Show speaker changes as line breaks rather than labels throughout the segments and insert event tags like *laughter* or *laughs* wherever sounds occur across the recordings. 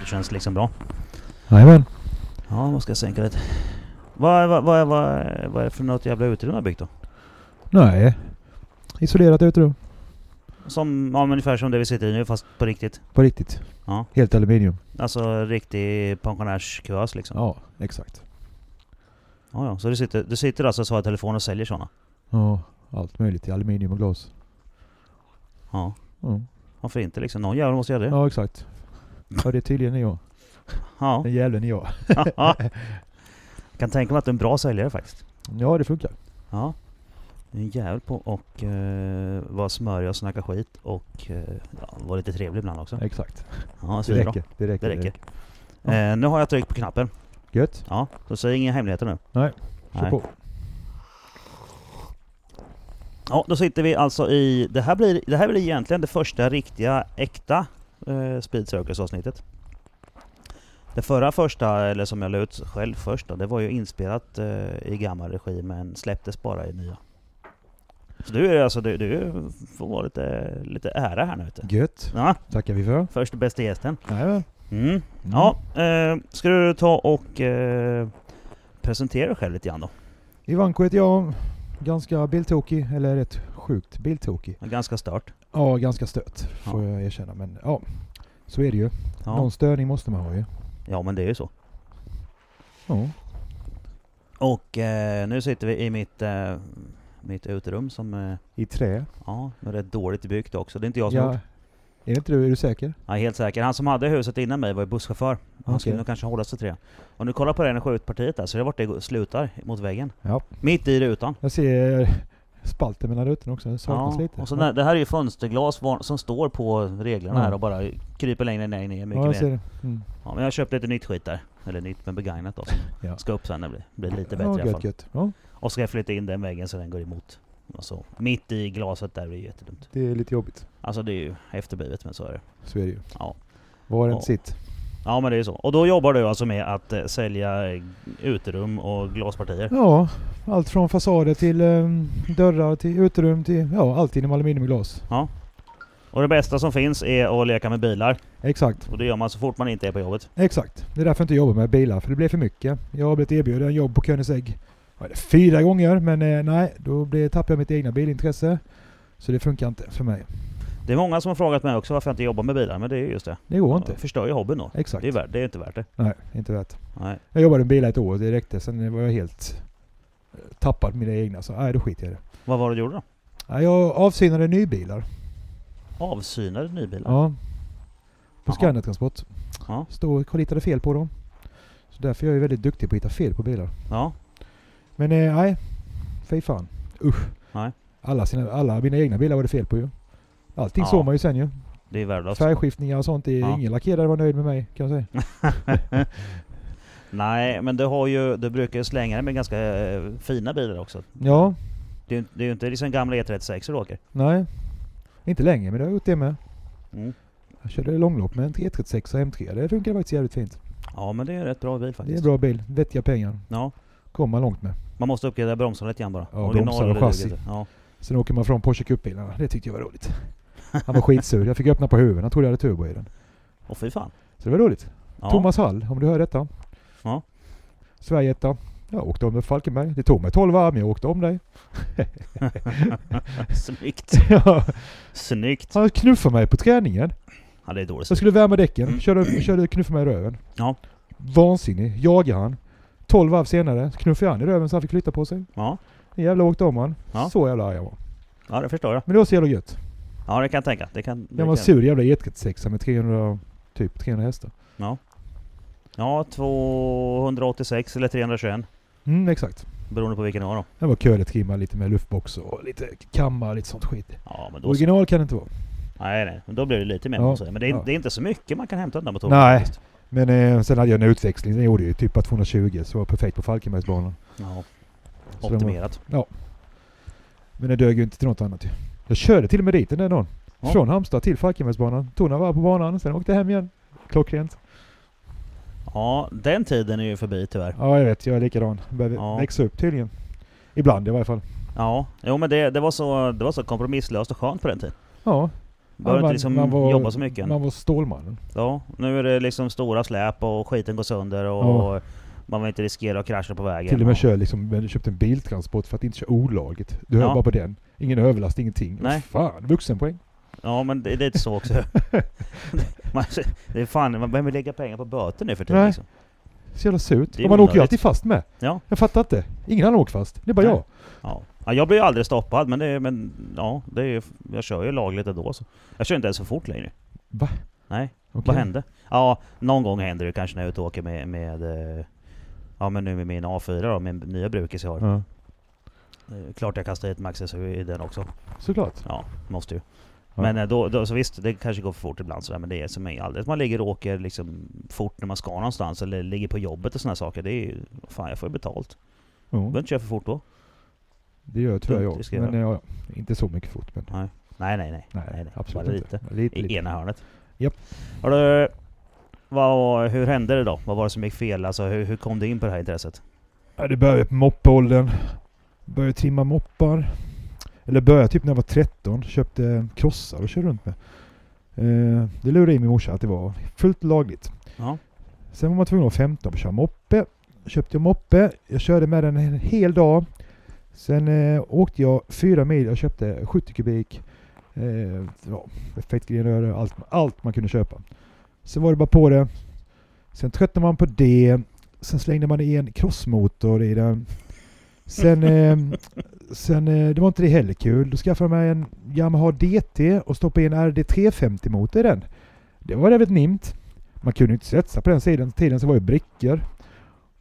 Det känns liksom bra.
Jajamän.
Ja, man ska jag sänka lite. Vad, vad, vad, vad, vad är det för något jävla utrymme de har byggt då?
Nej. Isolerat uterum.
Som, ja, men ungefär som det vi sitter i nu fast på riktigt.
På riktigt.
Ja.
Helt aluminium.
Alltså riktig pensionärskuvös liksom. Ja.
Ja, exakt.
Ja, ja. Så du sitter, du sitter alltså och svarar i telefon och säljer sådana?
Ja, allt möjligt i aluminium och glas.
Ja.
Ja,
Varför inte liksom? Någon jävel måste göra det.
ja exakt. Ja, det är tydligen jag.
*laughs* Ja.
Den jävlen är jag.
ja. kan tänka mig att du är en bra säljare faktiskt.
Ja, det funkar.
Ja. Du är en jävel på och eh, vara smörig och snacka skit och eh, ja, vara lite trevlig ibland också.
Exakt.
Ja, så
Det
det är bra.
räcker. Det räcker.
Det räcker.
Ja.
Eh, nu har jag tryckt på knappen.
Gött.
Ja, så säg inga hemligheter nu.
Nej. Kör
Nej.
på.
Ja, då sitter vi alltså i... Det här blir, det här blir egentligen det första riktiga, äkta eh, Speed Circus-avsnittet. Det förra första, eller som jag la ut själv först då, det var ju inspelat eh, i gammal regi men släpptes bara i nya. Så du är alltså, du, du får lite, lite ära här nu ute.
Gött.
Ja,
Tackar vi för.
först bästa gästen.
Jajamän.
Mm.
Mm.
Ja, eh, ska du ta och eh, presentera dig själv lite grann då?
Ivanko heter jag. Ganska biltokig, eller rätt sjukt biltokig.
Ganska stört.
Ja, ganska stött får jag erkänna. Men ja, så är det ju.
Ja.
Någon störning måste man ha ju.
ja, men det är ju så.
Ja,
Och eh, nu sitter vi i mitt, eh, mitt uterum som eh,
i trä.
ja, är rätt dåligt byggt också. Det är inte jag som
Ja.
gjort.
Är det inte du? Är du säker?
Jag är helt säker. Han som hade huset innan mig var ju busschaufför. Han
Okej.
skulle nog kanske hålla sig till det. Och nu kollar på det energiutpartiet där, så det är vart det slutar mot väggen.
Ja.
Mitt i rutan.
Jag ser spalter mellan rutorna också. Det saknas lite.
och så där, det här är ju fönsterglas var- som står på reglerna
Ja.
här och bara kryper längre ner, ner mycket
ja, jag
mer.
ser det. Mm.
Ja, men jag köpte lite nytt skit där. Eller nytt men begagnat då.
Ja.
Ska upp sen när det blir, blir lite bättre
ja,
i alla fall.
gött, gött. Ja,
Och ska jag flytta in den väggen så den går emot. Och så. Mitt i glaset där, det är ju jättedumt.
det är lite jobbigt.
Alltså det är ju efterblivet men så är det.
Så är det ju.
Ja.
Var det
Ja.
inte sitt?
Ja men det är ju så. Och då jobbar du alltså med att eh, sälja eh, uterum och glaspartier?
Ja, allt från fasader till ehm, dörrar till uterum till ja, allt inom aluminiumglas.
Och det bästa som finns är att leka med bilar.
Exakt,
Och det gör man så fort man inte är på jobbet.
exakt. Det är därför jag inte jobbar med bilar, för det blev för mycket. Jag har blivit erbjuden jobb på Koenigsegg vad är det, fyra gånger, men eh, nej, då blev, tappade jag mitt egna bilintresse. Så det funkar inte för mig.
Det är många som har frågat mig också varför jag inte jobbar med bilar, men det är ju just det.
Det går
Jag
inte.
förstör ju hobbyn då.
Exakt.
Det är, värt, det är inte värt det.
Nej, inte värt.
Nej.
Jag jobbade med bilar ett år, det räckte. Sen var jag helt eh, tappad mina egna, så nej, då skiter jag i det.
Vad var det du gjorde då?
Nej, jag avsynade nybilar.
Avsynade nybilar?
Ja. På
Jaha.
Scandiatransport.
Ja.
Stod och hittade fel på dem. Så därför är jag ju väldigt duktig på att hitta fel på bilar.
ja.
Men eh, nej, fy fan. Usch.
Nej.
Alla, sina, alla mina egna bilar var det fel på ju. Allting
Ja.
såg man ju sen ju.
Det är värdelöst.
Färgskiftningar och sånt. Det,
Ja.
Ingen lackerare var nöjd med mig kan jag
*laughs*
säga.
Nej, men du har ju, du brukar ju slänga dig med ganska eh, fina bilar också.
Ja,
Det är ju det är ju inte liksom gamla E36 du åker. nej
nej. Inte länge men det har jag gjort det med.
Mm.
Jag körde långlopp med en 336 och M3. Det funkar faktiskt jävligt fint.
Ja men det är en rätt bra bil
Det är
faktiskt.
en bra bil. Vettiga pengar.
Ja.
Kommer man långt med.
Man måste uppgradera bromsarna lite grann bara.
Ja, bromsar och
duger
chassi.
inte. Ja.
Sen åker man från Porsche Cup-bilarna. Det tyckte jag var roligt. Han var skitsur. Jag fick öppna på huvudet. Han trodde jag hade turbo i den.
Och fy fan.
Så det var roligt.
Ja.
Thomas Hall, om du hör detta.
Ja.
Sverigetta. Jag åkte om med Falkenberg. Det tog mig 12 varv, men jag åkte om dig.
*laughs*
*laughs*
Snyggt.
Ja,
Snyggt.
han knuffade mig på träningen.
Ja det är dåligt.
Jag skulle värma däcken.
Mm.
Körde, körde knuffade mig i röven.
Ja.
Vansinnig. Jagade han. 12 varv senare knuffade han i röven så han fick flytta på sig.
Ja.
Jävla åkte om han.
Ja.
Så jävla arg jag var.
ja det förstår jag.
Men det var så jävla gött.
Ja det kan jag tänka. Det kan, det
Jag var
kan.
sur jävla E36 med 300, typ 300 hästar.
Ja. ja 286 eller 321.
Mm, exakt.
Beroende på vilken det var då.
Den var köligt trimmad lite med luftbox och lite kammar lite sånt skit.
Ja men då så.
Original kan det inte vara.
Nej nej. Men Då blir det lite mer
Ja.
måste jag säga. Men det är,
Ja.
det är inte så mycket man kan hämta undan på tåget
Nej.
faktiskt.
Men eh, sen hade jag en utväxling, den gjorde ju typ bara 220 så det var perfekt på Falkenbergsbanan.
Ja.
Så de var-
Optimerat.
Men det dög ju inte till något annat ju. Jag körde till och med dit den där dagen.
Ja.
Från Halmstad till Falkenbergsbanan. Tog några varv på banan, sen åkte jag hem igen. Klockrent.
Ja, den tiden är ju förbi tyvärr.
Ja, jag vet. Jag är likadan. Börjar
Ja.
växa upp tydligen. Ibland i varje fall.
Ja, jo men det, det, var så, det var så kompromisslöst och skönt på den tiden.
Ja,
Behöver
Ja, man-
inte liksom
man var-
jobba så mycket.
man var Stålmannen.
Ja, nu är det liksom stora släp och skiten går sönder och
Ja.
man vill inte riskera att krascha på vägen.
Till och med kör liksom, men köpt en biltransport för att inte köra olagligt. Du hör
Ja.
bara på den. Ingen överlast, ingenting.
Nej.
Fan, vuxenpoäng.
Ja men det, det är inte så
*laughs*
också. man, det är fan, man behöver lägga pengar på böter nu för tiden
Nej.
liksom.
Så jävla surt.
Det är
Och man åker ju
onödigt.
alltid fast med.
Ja.
Jag fattar inte. Ingen annan åker fast. Det är bara
Nej.
jag.
Ja. ja, jag blir ju aldrig stoppad men, det, är- men ja, det är ju, jag kör ju lagligt ändå så. Jag kör inte ens för fort längre.
Va?
Nej,
Okej.
Vad hände? Ja, någon gång händer det kanske när jag är ute och åker med, med eh, Ja men nu med min A4 då, min nya brukis jag har.
Ja. Mm.
Eh, Klart jag kastar hit Maxis i den också.
Såklart.
Ja, måste ju.
Ja.
Men eh, då, då, så visst, det kanske går för fort ibland sådär, men det är som är alldeles. Man ligger och åker liksom fort när man ska någonstans eller ligger på jobbet och sådana saker. Det är ju, fan jag får ju betalt.
Ja.
Du behöver inte köra för fort då.
Det gör tyvärr
Dumt,
jag
det
också.
ska jag
Men eh, ja, ja. inte så mycket fot. Men
Nej nej nej.
nej,
nej, nej.
absolut
Bara E-
inte. Lite,
I ena hörnet.
Japp.
Har du, vad, hur hände det då? Vad var det som gick fel? Alltså hur, hur kom du in på det här intresset?
Ja, det började på moppeåldern. Började trimma moppar. Eller började typ när jag var 13. Köpte krossar och körde runt med. Eh, det lurade i min morsa att det var fullt lagligt.
Ja.
Sen var man tvungen att vara 15 för att köra moppe. Köpte jag moppe. Jag körde med den en hel dag. Sen eh, åkte jag fyra mil och köpte 70 kubik. Eh, ja, effektgrenrör och allt, allt man kunde köpa. Sen var det bara på det. Sen tröttnade man på det. Sen slängde man i en crossmotor i den. Sen, eh, *laughs* sen eh, det var inte det heller kul. Då skaffade jag mig en Yamaha DT och stoppade i en RD350-motor i den. Det var jävligt nimt. Man kunde inte svetsa på den sidan. Tiden så var det brickor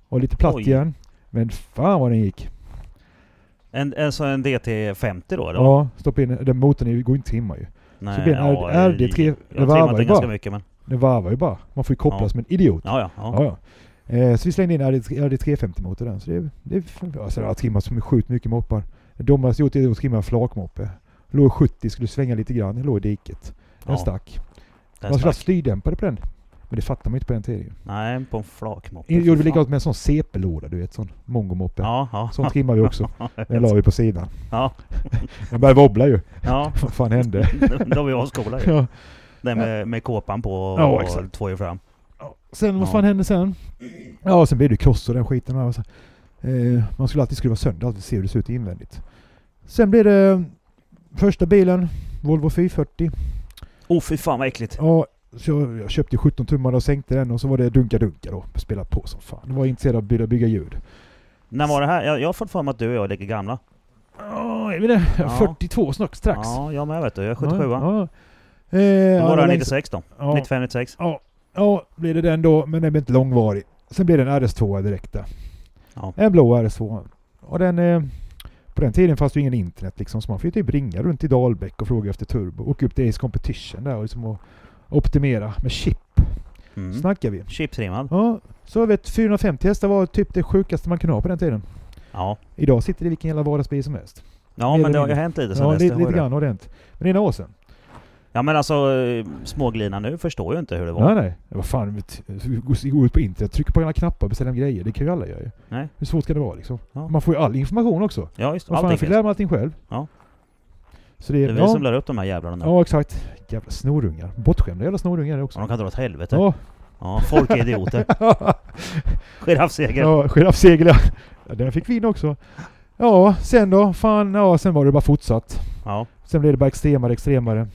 och lite platt
Oj.
igen. Men fan vad den gick.
En, en, så en DT50 då? Eller?
Ja, stoppa in den motorn i- går inte att trimma ju.
Nej,
så blir det en
ja,
R- RD3
Jag har
varvar
trimmat
ju
den ganska
bara.
mycket men...
Den varvar ju bara. Man får ju koppla
Ja.
som en idiot.
Ja, ja. ja.
Ja, ja. Eh, så vi slängde in RD350 motor den. Så det, det alltså, jag har trimmat så sjukt mycket moppar. Det dummaste jag gjort är att trimma en flakmoppe. Låg i 70, skulle svänga lite grann, låg i diket. Den
Ja,
stack.
den
man skulle ha
stack.
styrdämpare på den. Men det fattar man ju inte på den tiden ju.
Nej, på en flakmoppe.
Gjorde vi
Fan.
likadant med en sån CP-låda du vet, sån mongomoppe.
Ja,
*laughs*
ja.
Sån trimmade
*laughs*
vi också. Den la vi på sidan.
Ja.
*laughs* Den började wobbla ju.
ja.
Vad
*laughs*
fan hände?
De är ju ascoola ju.
ja.
Den med, med kåpan på och,
Ja, exakt.
två i fram.
Sen vad
Ja.
fan hände sen? Ja, sen blev det kross och den skiten. Och så, eh, man skulle alltid skruva sönder allt och se hur det ser ut invändigt. Sen blev det eh, första bilen, Volvo 440.
Oh fy fan vad äckligt.
Ja, så jag, jag köpte 17 tummar och sänkte den och så var det dunka-dunka då. Spela på som fan. Det var intresserad av att bygga, bygga ljud.
När var det här? Jag, jag har fått för mig att du och jag är lika gamla.
Ja, är vi det?
Ja.
42 snart strax.
Ja, jag med vet du. Jag är 77 ja,
Ja, ja. Eh,
Då var
ja,
det
längst-
96 då.
ja.
95, 96.
Ja, blir det den då, men den blir inte långvarig. Sen blir det en RS2 direkt där.
Ja.
En blå RS2. Och den, eh, på den tiden fanns det ju ingen internet liksom, så man fick ju typ ringa runt i Dalbäck och fråga efter turbo. Åka upp till Ace Competition där och liksom och optimera med chip,
Mm.
snackar vi.
Chipsrimmad.
Ja, så jag vet 450 hästar var typ det sjukaste man kunde ha på den tiden.
Ja.
Idag sitter det i vilken jävla vardagsbil som helst.
Ja
Mer
men det har
eller
ju hänt lite sen
Ja,
dess.
li,
det har ju
lite
det.
grann har det hänt. Men det är några år sedan.
Ja men alltså eh, småglina nu förstår ju inte hur det var.
Nej, nej. Vad fan, vet- gå- gå ut på internet, trycka på alla knappar och beställa grejer. Det kan ju alla göra ju.
Nej.
Hur svårt ska det vara liksom?
Ja.
Man får ju all information också.
Ja just
Vad fan,
allting
jag fick
finns.
lära mig allting själv.
Ja.
Så det
Det
är...
är vi
ja,
som lär upp de här jävlarna nu.
ja, exakt. Jävla snorungar. Bortskämda jävla snorungar är det
Så
också.
de kan dra åt helvete. Ja.
Ja.
folk är
*laughs*
idioter. Giraffseger.
ja, giraffsegel ja. ja. Den fick vi in också. Ja, sen då? Fan, ja, sen var det bara fortsatt.
Ja.
Sen blev det bara extremare, extremare.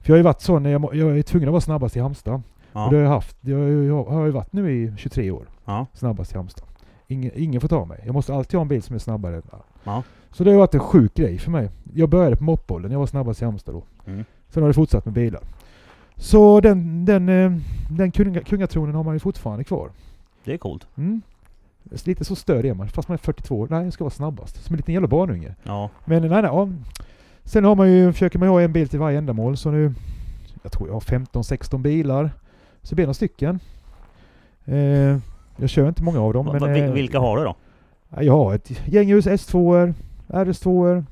För jag har ju varit sån, när jag, må- jag är tvungen att vara snabbast i Halmstad. Och det
Ja.
har jag haft. Jag, jag, jag har ju varit nu i 23 år.
Ja.
Snabbast i Halmstad. Ingen, ingen får ta mig. Jag måste alltid ha en bil som är snabbare. än alla.
Ja.
Så det har varit en sjuk grej för mig. Jag började på mopbollen. Jag var snabbast i Halmstad då.
Mm.
Sen har det fortsatt med bilar. Så den, den, eh, den kunga, kungatronen har man ju fortfarande kvar.
Det är coolt.
Mm. Så Lite så störd är man, fast man är 42 år. Nej, jag ska vara snabbast. Som en liten jävla barnunge.
Ja.
Men nej, nej. Ja. Sen har man ju, försöker man ju ha en bil till varje ändamål. Så nu, jag tror jag har 15-16 bilar. Så det blir några stycken. Eh, jag kör inte många av dem.
Va-
men,
va-
eh,
vil- vilka har du då?
Ja, Jag har ett gäng US S2, RS2,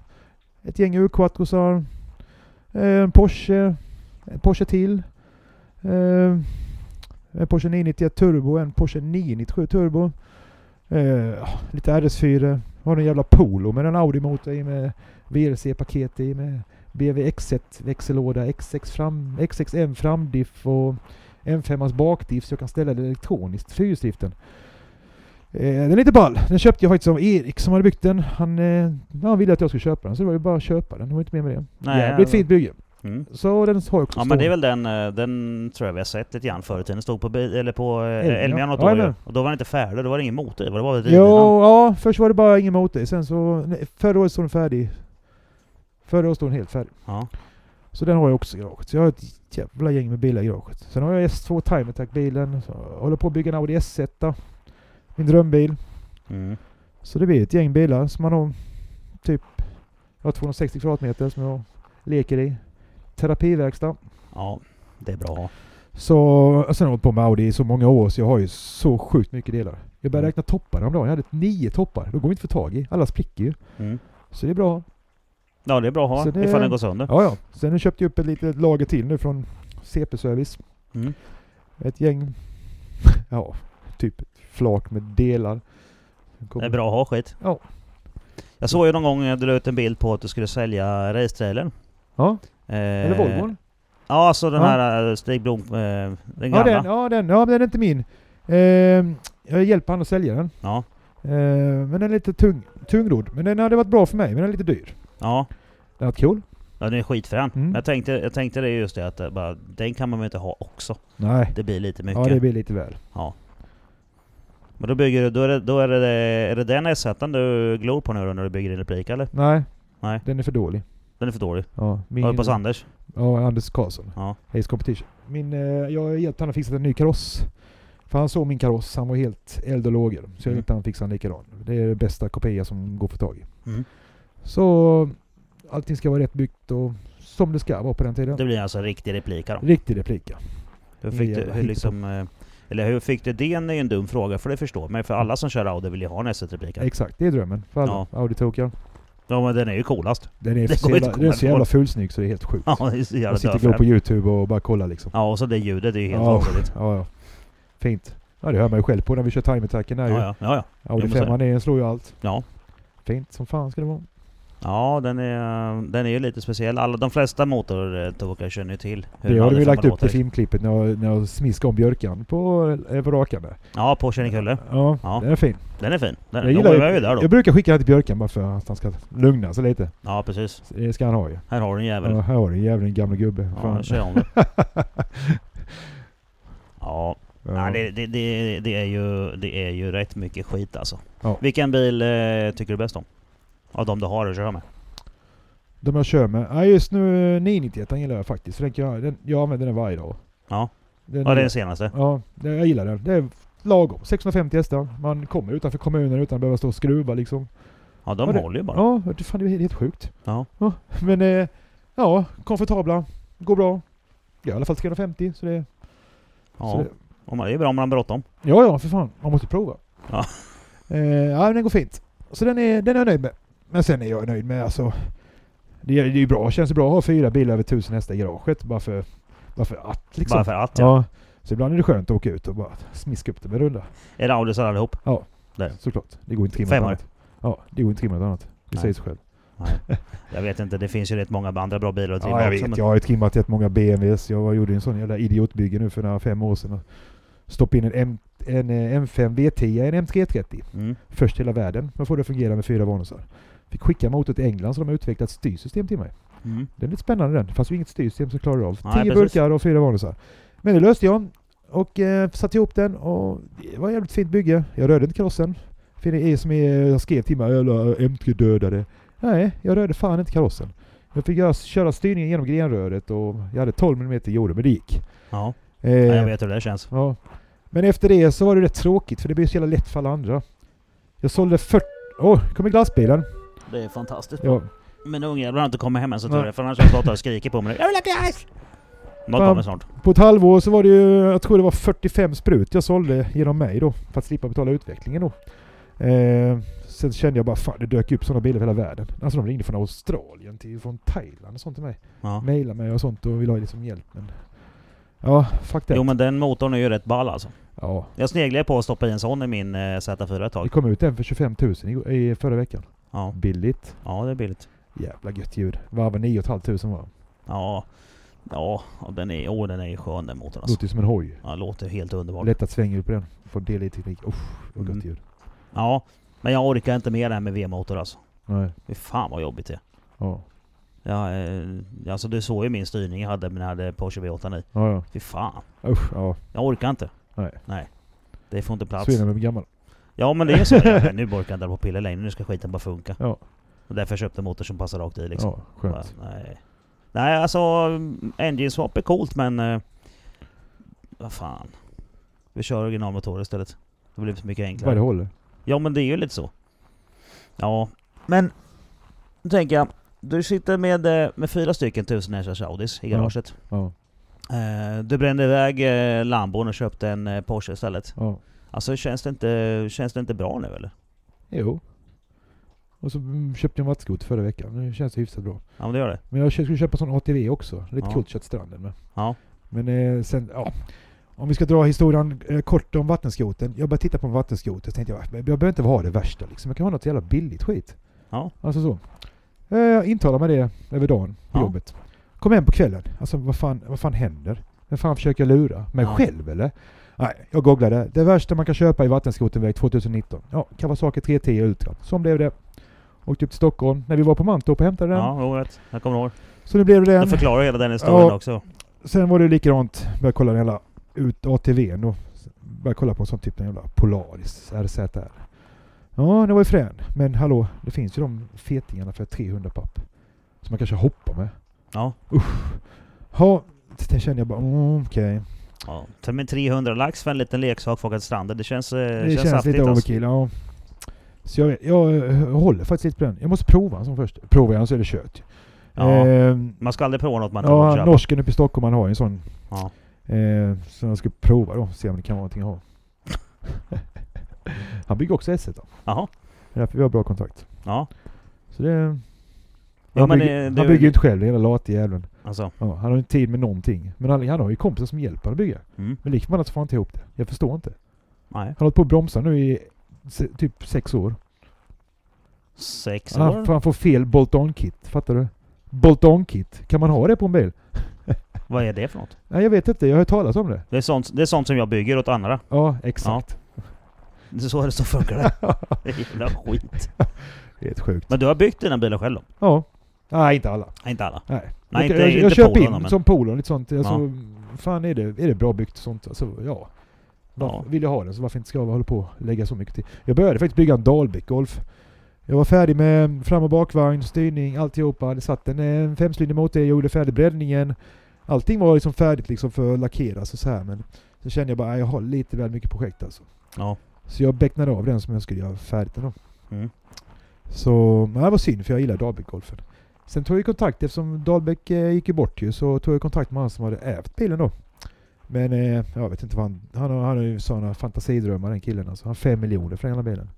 ett gäng U4, eh, en Porsche, en Porsche till, eh, en Porsche 991 Turbo, en Porsche 997 Turbo, eh, ja, lite RS4, har en jävla Polo med en Audi-motor i med VRC-paket i med BMW X1 växellåda, X6 fram, X6M framdiff och M5 bakdiff så jag kan ställa det elektroniskt, fyrhjulsdriften. Eh, den är lite ball. Den köpte jag faktiskt av Erik som hade byggt den. Han, eh, han ville att jag skulle köpa den så det var ju bara att köpa den. Det var inte mer med det.
Nej,
Jävligt
ja,
fint bygge.
Mm.
Så den har jag också
Ja men det är
stående.
väl den, eh, den tror jag vi har sett lite grann förr i tiden. Stod på, bi- eller på
Elmia.
eh, Elmia något
Ja,
år ju.
men.
Och då var den inte färdig, då var det ingen motor i. Det var bara
Jo,
drivlinan.
ja, först var det bara ingen motor. Sen så... Nej, förra året stod den färdig. Förra året stod den helt färdig.
Ja.
Så den har jag också i garaget. Så jag har ett jävla gäng med bilar i garaget. Sen har jag S2 Time Attack-bilen. Så jag håller på att bygga en Audi S1. då. Min drömbil.
Mm.
Så det blir ett gäng bilar som man har typ jag har 260 kvadratmeter som jag leker i. Terapiverkstad.
ja, det är bra att ha.
Så, och sen har jag hållit på med Audi i så många år så jag har ju så sjukt mycket delar. Jag började räkna toppar häromdagen. Jag hade nio toppar. De går inte att få tag i. Alla spricker ju.
Mm.
Så det är bra.
Ja det är bra att ha
Så det-
ifall den går sönder.
Ja, ja. Sen köpte jag upp ett litet lager till nu från CP-service.
Mm.
Ett gäng, *laughs* ja, typ ett flak med delar.
Det är bra att ha skit.
Ja.
Jag såg ju någon gång eh, du la ut en bild på att du skulle sälja racetrailern.
Ja,
Eh,
eller Volvon.
Ja, alltså den
Ja.
här eh, Stig Blom, eh, den
Ja
gamla.
den, ja den, ja men den är inte min. Ehm, jag hjälper han att sälja den.
Ja.
Ehm, men den är lite tung, tungrodd. Men den hade varit bra för mig, men den är lite dyr.
ja.
Den hade varit cool.
Ja, den är skitfrän.
Mm.
Men jag tänkte, jag tänkte det just det att eh, bara, den kan man väl inte ha också.
Nej,
Det blir lite mycket.
ja det blir lite väl.
Men då bygger du, då är det, då är det, är det den s du glor på nu då när du bygger din replik eller?
Nej,
Nej.
den är för dålig.
Den är för dålig.
Ja, min,
Har du på Anders?
ja Anders Karlsson.
Ja.
Ace Competition. Min, eh, jag har hjälpt han att fixa en ny kaross. För han såg min kaross, han var helt eld och lågor. Så jag
Mm.
hjälpte han att fixa en likadan. Det är det bästa kopia som går att få tag i.
Mm.
Så allting ska vara rätt byggt och som det ska vara på den tiden.
Det blir alltså en riktig replik då.
Riktig replika.
Hur fick
jävla
du, hur
hittepå.
liksom, eh, eller hur fick du det? Det är ju en dum fråga för det förstår man ju, för alla som kör Audi vill ju ha en S1-replik.
Exakt, det är drömmen för alla Audi-tokar.
Ja men den är ju coolast. *laughs*
Den är,
Det
så
går
jävla,
inte att
den är så
komma
jävla
ifrån.
fulsnygg så det är helt sjukt.
Ja, det är så jävla
jag sitter och går på
dödfrän.
Youtube och bara kollar liksom.
Ja och så det ljudet, det är ju helt
Ja.
vansinnigt.
Ja, ja. Fint. Ja, det hör man ju själv på när vi kör time-attacken.
Ja,
där ju.
ja, ja, ja.
Audi
Jo, men så är
5 är, den slår ju allt.
Ja.
Fint som fan ska det vara.
Ja, den är, den är ju lite speciell. Alla, de flesta motortokar känner ju till hur
det
en
har du ju
Audi
lagt
500
upp till
låter.
filmklippet när jag, när jag smiskade om björkan på, eh, på rakan där.
Ja, på Kinnekulle.
Ja,
Ja.
den är fin.
Den är fin. Den,
Jag
jag
gillar
gillar
ju-
de var ju där då.
Jag brukar skicka den till björkan bara för att han ska lugna sig lite.
Ja, precis.
Så Det ska han ha ju.
Här har du en jävel.
Ja, här har du jävla gamla gubbe.
Ja,
Fan.
kör om
*laughs*
det. Ja,
Ja.
Nej, det, det, det, det, är ju, det är ju rätt mycket skit alltså.
Ja.
Vilken bil eh, tycker du bäst om? Av de du har att köra med?
De jag kör med. Ja, just nu eh, 991 den gillar jag faktiskt. För den kan jag, den, jag använder den varje dag.
Ja.
Den,
Ja, det är den senaste.
ja, det- jag gillar den. Det är lagom. 650 hästar. Man kommer utanför kommunen utan att behöva stå och skruva liksom.
Ja, de
Ja, det-
håller ju bara.
Ja, det, fan, det är helt- helt sjukt.
Ja.
men eh, ja, komfortabla. Går bra. Ja, i alla fall 350 så det... Så
Ja.
det
Och man, det är bra om man har bråttom.
ja, ja för fan. Man måste prova.
Ja.
Eh, ja, men den går fint. Så den är, den är jag nöjd med. Men sen är jag nöjd med alltså... Det är det är ju bra. Känns det bra att ha fyra bilar över 1000 hästar i garaget bara för, bara för att liksom.
Bara för att ja.
Ja. Så ibland är det skönt att åka ut och bara smiska upp det med runda.
Är det Audisar allihop?
Såklart. Det går inte att trimma något
Femmor.
annat. Ja, det går inte att trimma något annat. Det
Nej.
säger sig själv.
Jag vet inte, det finns ju rätt många andra bra bilar att trimma
Ja, jag
också.
vet.
men-
Jag har ju trimmat jättemånga BMWs. Jag gjorde en sån jävla idiotbygge nu för några fem år sedan. Stoppade in en, M, en eh, M5 V10 i en M330.
Mm.
Först i hela världen. Men får det att fungera med fyra varnåsar. Fick skicka motorn till England så de har utvecklat ett styrsystem till mig.
Mm.
Det är lite spännande den. Det fanns ju inget styrsystem som klarade av.
Nej,
Tio
precis.
burkar och fyra vanusar. Men det löste jag. Och eh, satte ihop den och det var ett jävligt fint bygge. Jag rörde inte karossen. För det är som är, jag skrev till mig, "Jävla M3 dödade. Nej, jag rörde fan inte karossen. Jag fick göra, köra styrningen genom grenröret och jag hade 12 mm jorden, men det gick.
Ja.
Eh,
ja, jag vet hur det känns.
ja. Men efter det så var det rätt tråkigt för det blev så jävla lätt för alla andra. Jag sålde 40... Åh, oh, kommer glassbilen.
Det är fantastiskt.
Ja,
Men ungjävlar har inte kommit hem än så
Nej.
tror jag, för annars har jag stått där och skrikit på mig. Jag vill ha glass! Något
Fan.
kommer snart.
På ett halvår så var det ju, jag tror det var 45 sprut jag sålde genom mig då. För att slippa betala utvecklingen då. Eh, sen kände jag bara fan det dök upp sådana bilar över hela världen. Alltså de ringde från Australien till från Thailand och sånt till mig.
Ja.
Mailade mig och sånt och ville ha liksom hjälp men... Ja, fuck that.
Jo men den motorn är ju rätt ball alltså.
Ja.
Jag sneglade på att stoppa i en sån i min eh, Z4 ett
Det
tag.
kom ut en för 25 000 i, i förra veckan.
Ja,
Billigt.
ja det är billigt.
Jävla gött ljud. Varva 9 500 var den.
Ja, ja och den är, oh, den är ju skön den motorn alltså.
Låter ju som en hoj.
Ja, låter helt underbart.
Lättat svänghjul på den. Får DLI-teknik. Usch, vad
Mm.
gött ljud.
Ja, men jag orkar inte med det här med V-motor alltså.
Nej.
Fy fan vad jobbigt det är.
Ja.
Ja, eh, alltså du såg ju min styrning jag hade när jag hade Porsche V8 i.
Ja, ja.
Fy fan.
Usch, ja.
Jag orkar inte.
Nej.
Nej. Det får inte plats.
Så är det med gammal.
Ja men det är så.
*laughs*
Ja, nu orkar jag inte hålla på och pilla längre. Nu ska skiten bara funka.
Ja.
Och därför köpte jag en motor som passar rakt i liksom.
Ja, skönt.
Bara, Nej. Nej alltså, mm, engine swap är coolt men... eh, Vad fan. Vi kör originalmotorer istället. Det blir så mycket enklare.
Vad det håller.
Ja men det är ju lite så. Ja, men... Nu tänker jag. Du sitter med, eh, med fyra stycken 1000 hästars Audis i
Ja.
garaget.
Ja,
Eh, Du brände iväg eh, Lambon och köpte en eh, Porsche istället.
ja.
Alltså känns det inte, känns det inte bra nu eller?
Jo. Och så mm, köpte jag en vattenskoter förra veckan. Det känns hyfsat bra.
Ja men det gör det.
Men jag kö- skulle köpa sån ATV också. Lite
Ja.
coolt kött stranden med.
Ja.
Men eh, sen, ja. Om vi ska dra historien eh, kort om vattenskoten. Jag började titta på en vattenskoter och tänkte jag, "Men jag behöver inte ha det värsta liksom. Jag kan ha något jävla billigt skit.
Ja.
Alltså så. Eh, intalar mig det över dagen på
Ja.
jobbet. Kom hem på kvällen. Alltså vad fan, vad fan händer? Vem fan försöker jag lura? Mig
Ja.
själv eller? Nej, jag googlade. Det värsta man kan köpa i vattenskoterväg 2019. Ja, Kawasaki 310 Ultra. Som blev det. Åkte upp till Stockholm när vi var på Mantorp och hämtade den.
Ja, jo, rätt. Jag kommer ihåg.
Så nu blev det
Du
den.
förklarar hela den historien
Ja.
också.
Sen var det likadant. Började kolla den jävla ut ATVn då. Började kolla på en sån typ en jävla Polaris RZR. Ja, den var ju frän. Men hallå, det finns ju de fetingarna för 300 papp. Som man kanske hoppar med.
Ja.
Ja, det kände jag bara mm, okej.
ja. Ta med 300 lax för en liten leksak för att åka till stranden. Det känns, eh,
Det känns, lite
alltså.
overkill. Ja. Så jag, jag eh, håller faktiskt lite på den. Jag måste prova en sån först. Provar jag en så är det kört.
Ja.
Ehm,
Man ska aldrig prova något man inte
ja,
ja, köpa.
norsken uppe i Stockholm han har ju en sån.
Ja.
Eh, så jag ska prova då, se om det kan vara någonting att
*laughs*
ha. han bygger också S1 då.
Jaha.
Det är därför vi har bra kontakt.
Ja.
Så det...
Ja,
han,
men
bygger,
det- det-
han bygger ju inte själv, hela late jäveln.
Alltså.
Ja, han har ju inte tid med någonting. Men han, han har ju kompisar som hjälper honom att bygga.
Mm.
Men likförbannat så får han inte ihop det. Jag förstår inte.
Nej.
Han har hållit på att bromsa nu i se, typ sex år.
Sex
Han,
år?
han får fel bolt-on-kit, fattar du? Bolt-on-kit, kan man ha det på en bil?
Vad är det för något?
Nej jag vet inte, jag har hört talas om det.
Det är sånt, det är sånt som jag bygger åt andra.
Ja, exakt.
Det är så det som
*laughs*
funkar det. Det är jävla skit.
Det är ett sjukt.
Men du har byggt dina bilar själv då?
Ja. Nej, inte alla.
Nej, inte alla.
Nej.
Nej,
jag
inte-
jag, jag
inte
köper
polon,
in
men-
som polon lite sånt. Alltså, Fan är det, är det bra byggt och sånt? Alltså, ja. Varför,
Ja.
Vill jag ha den så varför inte ska jag hålla på och lägga så mycket tid? Jag började faktiskt bygga en Dalbäck Golf. Jag var färdig med fram och bakvagn, styrning, alltihopa. Det satt en eh, femcylindrig motor, jag gjorde färdig breddningen. Allting var liksom färdigt liksom för att lackeras och så här men så kände jag bara "Nej, jag har lite väl mycket projekt alltså.
Ja.
Så jag becknade av den som jag skulle göra färdigt den då.
Mm.
Så men det var synd för jag gillar Dalbäckgolfen. Sen tog jag kontakt, eftersom Dahlbäck eh, gick ju bort ju, så tog jag kontakt med han som hade ävt bilen då. Men eh, jag vet inte vad han... Han har, han har ju sådana fantasidrömmar den killen alltså. Han har fem miljoner för den hela bilen.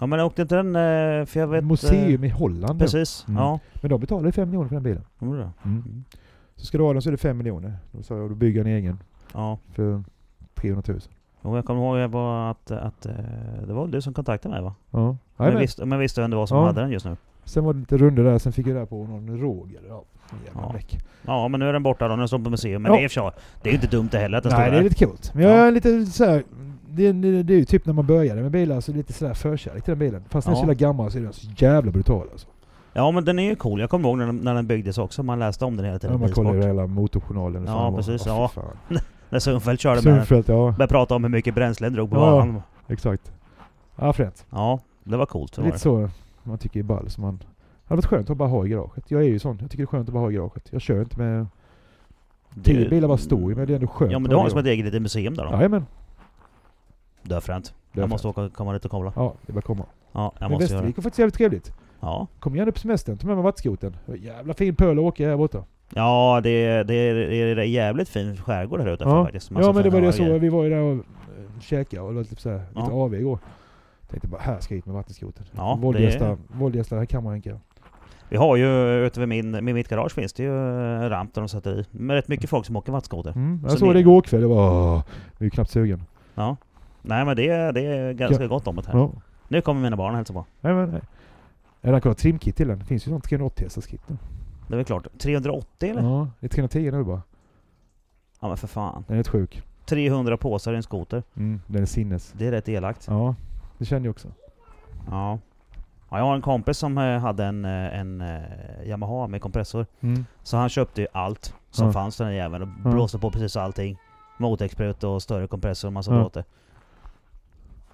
Ja men åkte inte den... eh, För jag vet... eh,
Museum i Holland. Precis.
Precis.
Mm.
Ja.
Men de betalar ju fem miljoner för den bilen.
Gjorde det? Mm.
Så ska du ha den så är det fem miljoner. Då sa jag, då bygger jag en egen
Ja.
för 300 000.
Jo, jag kommer ihåg jag var att, att eh, det var väl du som kontaktade mig va?
Ja.
Men
Jajamän.
visste, men visste vem det var som
Ja.
hade den just nu?
Sen var det lite runder där, sen fick jag där på någon Roger. Ja, en jävla
Ja.
meck.
Ja men nu är den borta då, den står på museum. Men
Ja.
det är i och för sig, det är ju inte dumt det heller att den
Nej,
står
det är
där.
lite coolt. Men jag är lite så här, det, det, det är ju typ när man började med bilar, så lite sådär förkärlek till den bilen. Fast när den är så
Ja.
jävla gammal så är den så jävla brutal alltså.
Ja men den är ju cool. Jag kommer ihåg när den, när den byggdes också. Man läste om den hela tiden.
Ja,
i
man kollar
Bilsport.
ju hela motorjournalen.
Ja,
fan vad-
precis,
åh, fy
ja.
fan.
När Sundfeldt körde med den.
Sunfält, ja.
Började prata om hur mycket bränsle den drog på
Ja.
banan.
Exakt. Ja, fränt.
Ja, det var coolt. Det var
Lite
det.
så man tycker är ball. Som man, det hade varit skönt att bara ha i garaget. Jag är ju sån. Jag tycker det är skönt att bara ha i garaget. Jag kör inte med... Tio
Du-
bilar bara står ju, men det är ändå skönt.
Ja men
att
du har
i
som ett
garaget.
eget litet museum där då?
Jajamän.
Det är fränt.
Det är
Jag måste åka, komma dit och kolla.
Ja, det bara komma.
Ja, jag måste
Men
göra det.
Västervik var faktiskt jävligt trevligt.
Ja.
Kom gärna på semestern, ta med mig vattenskotern. Jävla fin pöl att åka i här borta.
Ja, det är, det är, det är jävligt fin skärgård här utanför
Ja,
faktiskt. Massa
ja men det var
fina
det jag såg.
hagar.
Vi var ju där och eh, käkade och lite, så här, lite
Ja.
av igår. Tänkte bara, här ska jag hit med vattenskotern.
Ja, det
Våldgästa,
är-
Våldgästa, här kan man hänka.
Vi har ju ute vid min, med mitt garage finns det ju eh, ramp där de sätter i. Med rätt mycket folk som åker vattenskoter.
Mm. Jag
Så
såg
ni- Mm.
det igår kväll, jag bara, åh, vi är knappt sugen.
Ja. Nej men det, det är ganska gott om det här.
Ja.
Nu kommer mina barn och hälsa på.
Nej, men, nej. Eller han kan ha trimkit till den. Det finns ju sånt 380 hästars kit nu.
Det är väl klart. 380 eller?
Ja, det är 310 nu bara.
Ja men för fan.
Den är rätt sjuk.
300 påsar i en skoter.
Mm, den är sinnes.
Det är rätt elakt.
Ja, det känner jag också.
Ja. ja. Jag har en kompis som eh, hade en, eh, en eh, Yamaha med kompressor.
Mm.
Så han köpte ju allt som
Ja.
fanns den här jäveln och blåste på precis allting. Motexprut och större kompressor och massa
Ja.
bråte.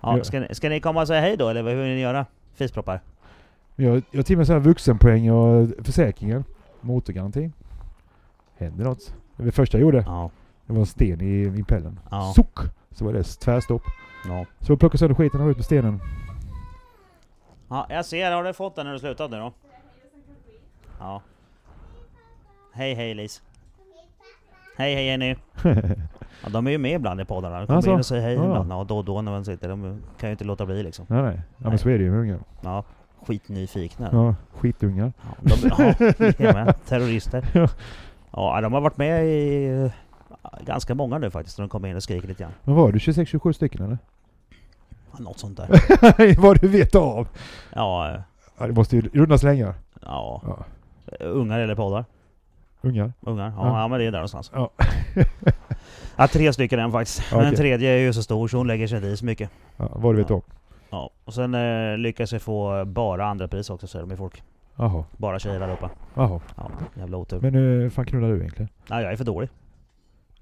Ja,
Ja.
ska, ni, ska ni komma och säga hej då eller vad- hur vill ni göra? Fisproppar?
Jag, jag har till och med så här vuxenpoäng och försäkringen. Motorgaranti. Händer något. Det var det första jag gjorde.
Ja.
Det var en sten i impellen.
Ja.
Suck! Så var det tvärstopp.
ja.
Så jag plockade sönder skiten och la ut
*laughs*
med stenen.
Ja, jag ser. Har du fått den när du slutat nu då? Ja. Hej hej Lis. Hej hej Jenny. Ja, de är ju med ibland i poddarna. De kommer
Alltså?
in och säger hej
Ja.
ibland. Ja, då och då när man sitter. De kan ju inte låta bli liksom.
nej, nej. Ja,
Nej.
men så är det ju med ungar.
Ja, skitnyfikna. Ja.
Ja, skitungar.
De, ja, det är med. Terrorister.
*laughs* Ja.
Ja, de har varit med i eh, ganska många nu faktiskt. när De kommer in och skriker lite grann.
Men var du 26-27 stycken eller? *laughs*
Ja, Något sånt där.
Vad du vet av!
Ja, eh,
Ja, det måste ju runda slängar.
ja.
Ja.
Ungar eller poddar.
Ungar.
Ungar. Ja, ja.
Ja.
men det är där någonstans.
Ja.
*laughs* Ja, tre stycken än faktiskt.
Ja,
Men den
okej.
tredje är ju så stor så hon lägger sig inte i så mycket.
Ja, vad du vet
Ja.
om.
Ja. Och sen eh, lyckas vi få bara andra pris också säger de ju folk.
Jaha.
Bara tjejer allihopa.
Jaha.
Ja, jävla otur.
Men eh, hur fan knullar du egentligen?
Nej, jag är för dålig.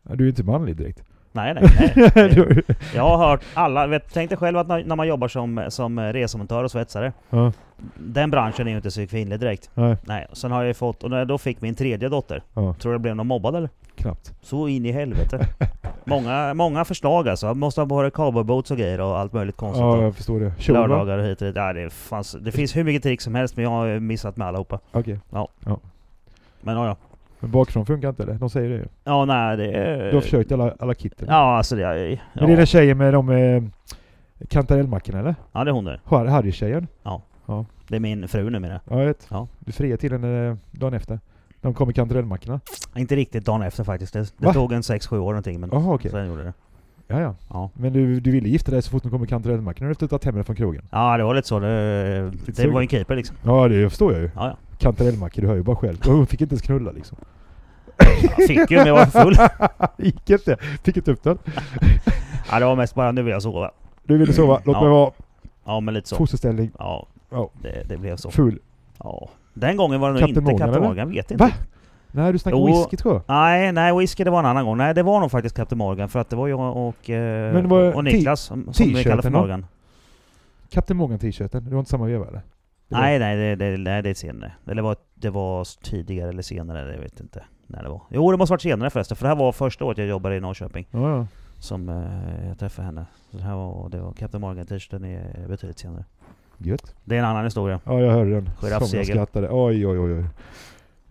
Ja, du är inte
*laughs*
manlig direkt.
Nej,
*laughs*
nej, nej. Det-
Du-
Jag har hört alla, vet, tänk dig själv att när, när man jobbar som, som resemontör och svetsare.
ja.
Den branschen är ju inte så kvinnlig direkt.
Nej.
Nej, sen har jag ju fått, och när jag då fick min tredje dotter,
Ja.
tror du det blev någon mobbad eller?
Knappt.
Så in i helvete. många, många förslag alltså. Jag måste ha både cowboyboots och grejer och allt möjligt konstigt.
Ja,
och
jag förstår det. Kjol, va?
lördagar och hit och dit. Ja, det, fanns, det finns hur mycket tricks som helst men jag har missat med allihopa.
Okej.
Men ja, ja.
Men bakifrån funkar inte eller? De säger det ju.
Ja, nej det är...
Du har försökt alla, alla kitten.
Eh, Ja, alltså det är...
Men det är
Ja,
den tjejen med de eh, kantarellmackorna eller?
ja det är hon där.
Har- Harry-tjejen?
Det är min fru numera.
Ja, jag vet.
Ja.
Du friade till henne eh, dagen efter. De kom med kantarellmackorna.
Inte riktigt dagen efter faktiskt. Det, det
Va?
tog en 6-7 år någonting men
Jaha okej.
sen gjorde det.
Ja, ja.
Ja.
Men du, du ville gifta dig så fort de kom med kantarellmackorna efter att du tagit hem henne från krogen?
Ja, det var lite så. Det, det
sugen.
var en keeper liksom.
Ja, det förstår jag ju.
Ja, ja.
Kantarellmackor, du hör ju bara själv. Och Hon fick inte ens knulla *laughs* liksom.
Jag fick ju, men jag var
*laughs*
full.
Gick inte. Fick inte upp den.
Ja, det var mest bara nu vill jag sova.
Du ville sova. Låt
Ja.
mig vara.
Ja, men lite så.
Fosterställning.
Ja,
Ja.
det, det blev så.
Full.
Ja. Den gången var det nog
Captain
inte
Morgan,
Captain
eller?
Morgan, vet inte.
Va? Nej, du snackar
Jo.
whisky tror jag.
Nej, nej, whisky det var en annan gång. Nej, det var nog faktiskt Captain Morgan för att det var jag och, eh,
Men var-
och Niklas som som vi kallar för
t-shirten då?
Morgan.
Kapten Morgan-t-shirten. Det var inte samma veva eller? Det var-
Nej, nej, det, det, nej, det är senare. Eller var, det var tidigare eller senare, jag vet inte när det var. Jo, det måste varit senare förresten, för det här var första året jag jobbade i Norrköping
Ja, ja.
som eh, jag träffade henne. Så det här var, det var Captain Morgan-t-shirten är betydligt senare.
Gött.
Det är en annan historia.
Ja, jag hörde den.
Giraffsegel.
Som jag skrattade. Oj, oj, oj, oj.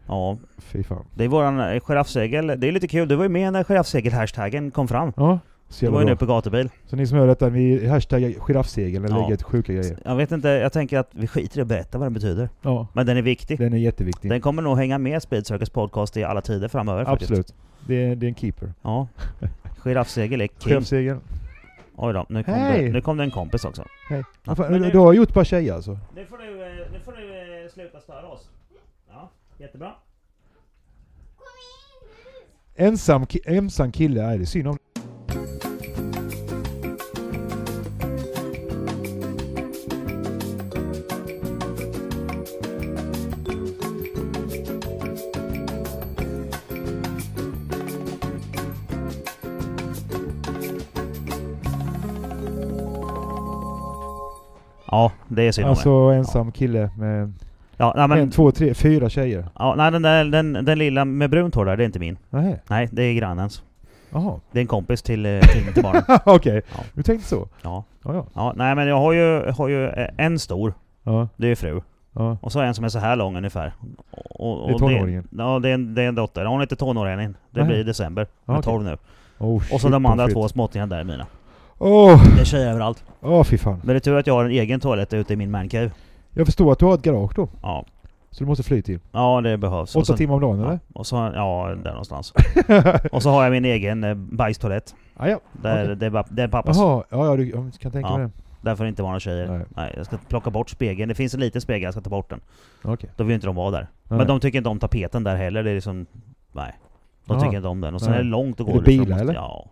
Ja,
Fy fan.
det är våran eh, giraffsegel. Det är lite kul, du var ju med när giraffsegel-hashtaggen kom fram.
Ja. Så
Du var
jävla
ju
bra.
nu på gatubil.
Så ni som hör detta, vi hashtaggar giraffsegeln eller
Ja.
lägger ett sjuka grejer.
Jag vet inte, jag tänker att vi skiter i att berätta vad den betyder.
Ja.
Men den är viktig.
Den är jätteviktig.
Den kommer nog hänga med Speed Circus podcast i alla tider framöver faktiskt.
Absolut. Det är, det är en keeper. *laughs*
Ja. Giraffsegel är king.
Giraffsegeln.
Oj då, nu kom,
Hej!
det, nu kom det en kompis också.
Hej.
Ja,
Fan,
men
du,
nu-
du har gjort bara tjejer alltså?
Nu får du, eh, nu får du sluta störa oss. Ja, jättebra.
Ensam, ki- ensam kille, är det synd om
Ja, det är synd om
Alltså
det.
ensam kille med
Ja, nej,
en,
men,
två, tre, fyra tjejer.
ja, nej, den, där, den, den lilla med brunt hår där, det är inte min.
Nähä,
Nej, det är grannens.
jaha. *laughs*
Det är en kompis till, eh, till, till barnen.
Okej,
Ja.
du tänkte så?
Ja.
Ja, ja.
Ja, nej men jag har ju, har ju eh, en stor,
ja.
det är ju fru.
Ja.
Och så en som är så här lång ungefär. Och, och
Det är tonåringen.
Det, ja, det är, en, det är en dotter. Hon är inte tonåring än. Det
Nej.
blir i december. Hon
Ja,
är
okej.
12 nu.
Oh,
Och så
shit,
de andra
shit.
två småttingarna där är mina.
Åh,
Det är tjejer överallt.
åh, fy fan.
Men det är tur att jag har en egen toalett ute i min mancave.
Jag förstår att du har ett garage då.
Ja.
Så du måste fly till.
ja, det behövs.
Åtta
och så,
timmar om dagen
ja,
eller?
och så, ja, där
*laughs*
någonstans. och så har jag min egen eh, bajstoalett.
Ah, ja.
Där,
Okej.
det, är, bara- det är pappas.
Jaha, ja, ja, du jag kan tänka
Ja.
mig det.
Där får det inte vara några tjejer. Nej.
Nej.
jag ska plocka bort spegeln. Det finns en liten spegel, jag ska ta bort den.
Okej.
Då vill inte de vara där.
Nej.
Men de tycker inte om tapeten där heller. Det är liksom... Nej. De
Jaha.
tycker inte om den. Och sen
Nej.
är det långt att gå
Är det
därifrån.
bilar,
Måste-
eller?
Ja.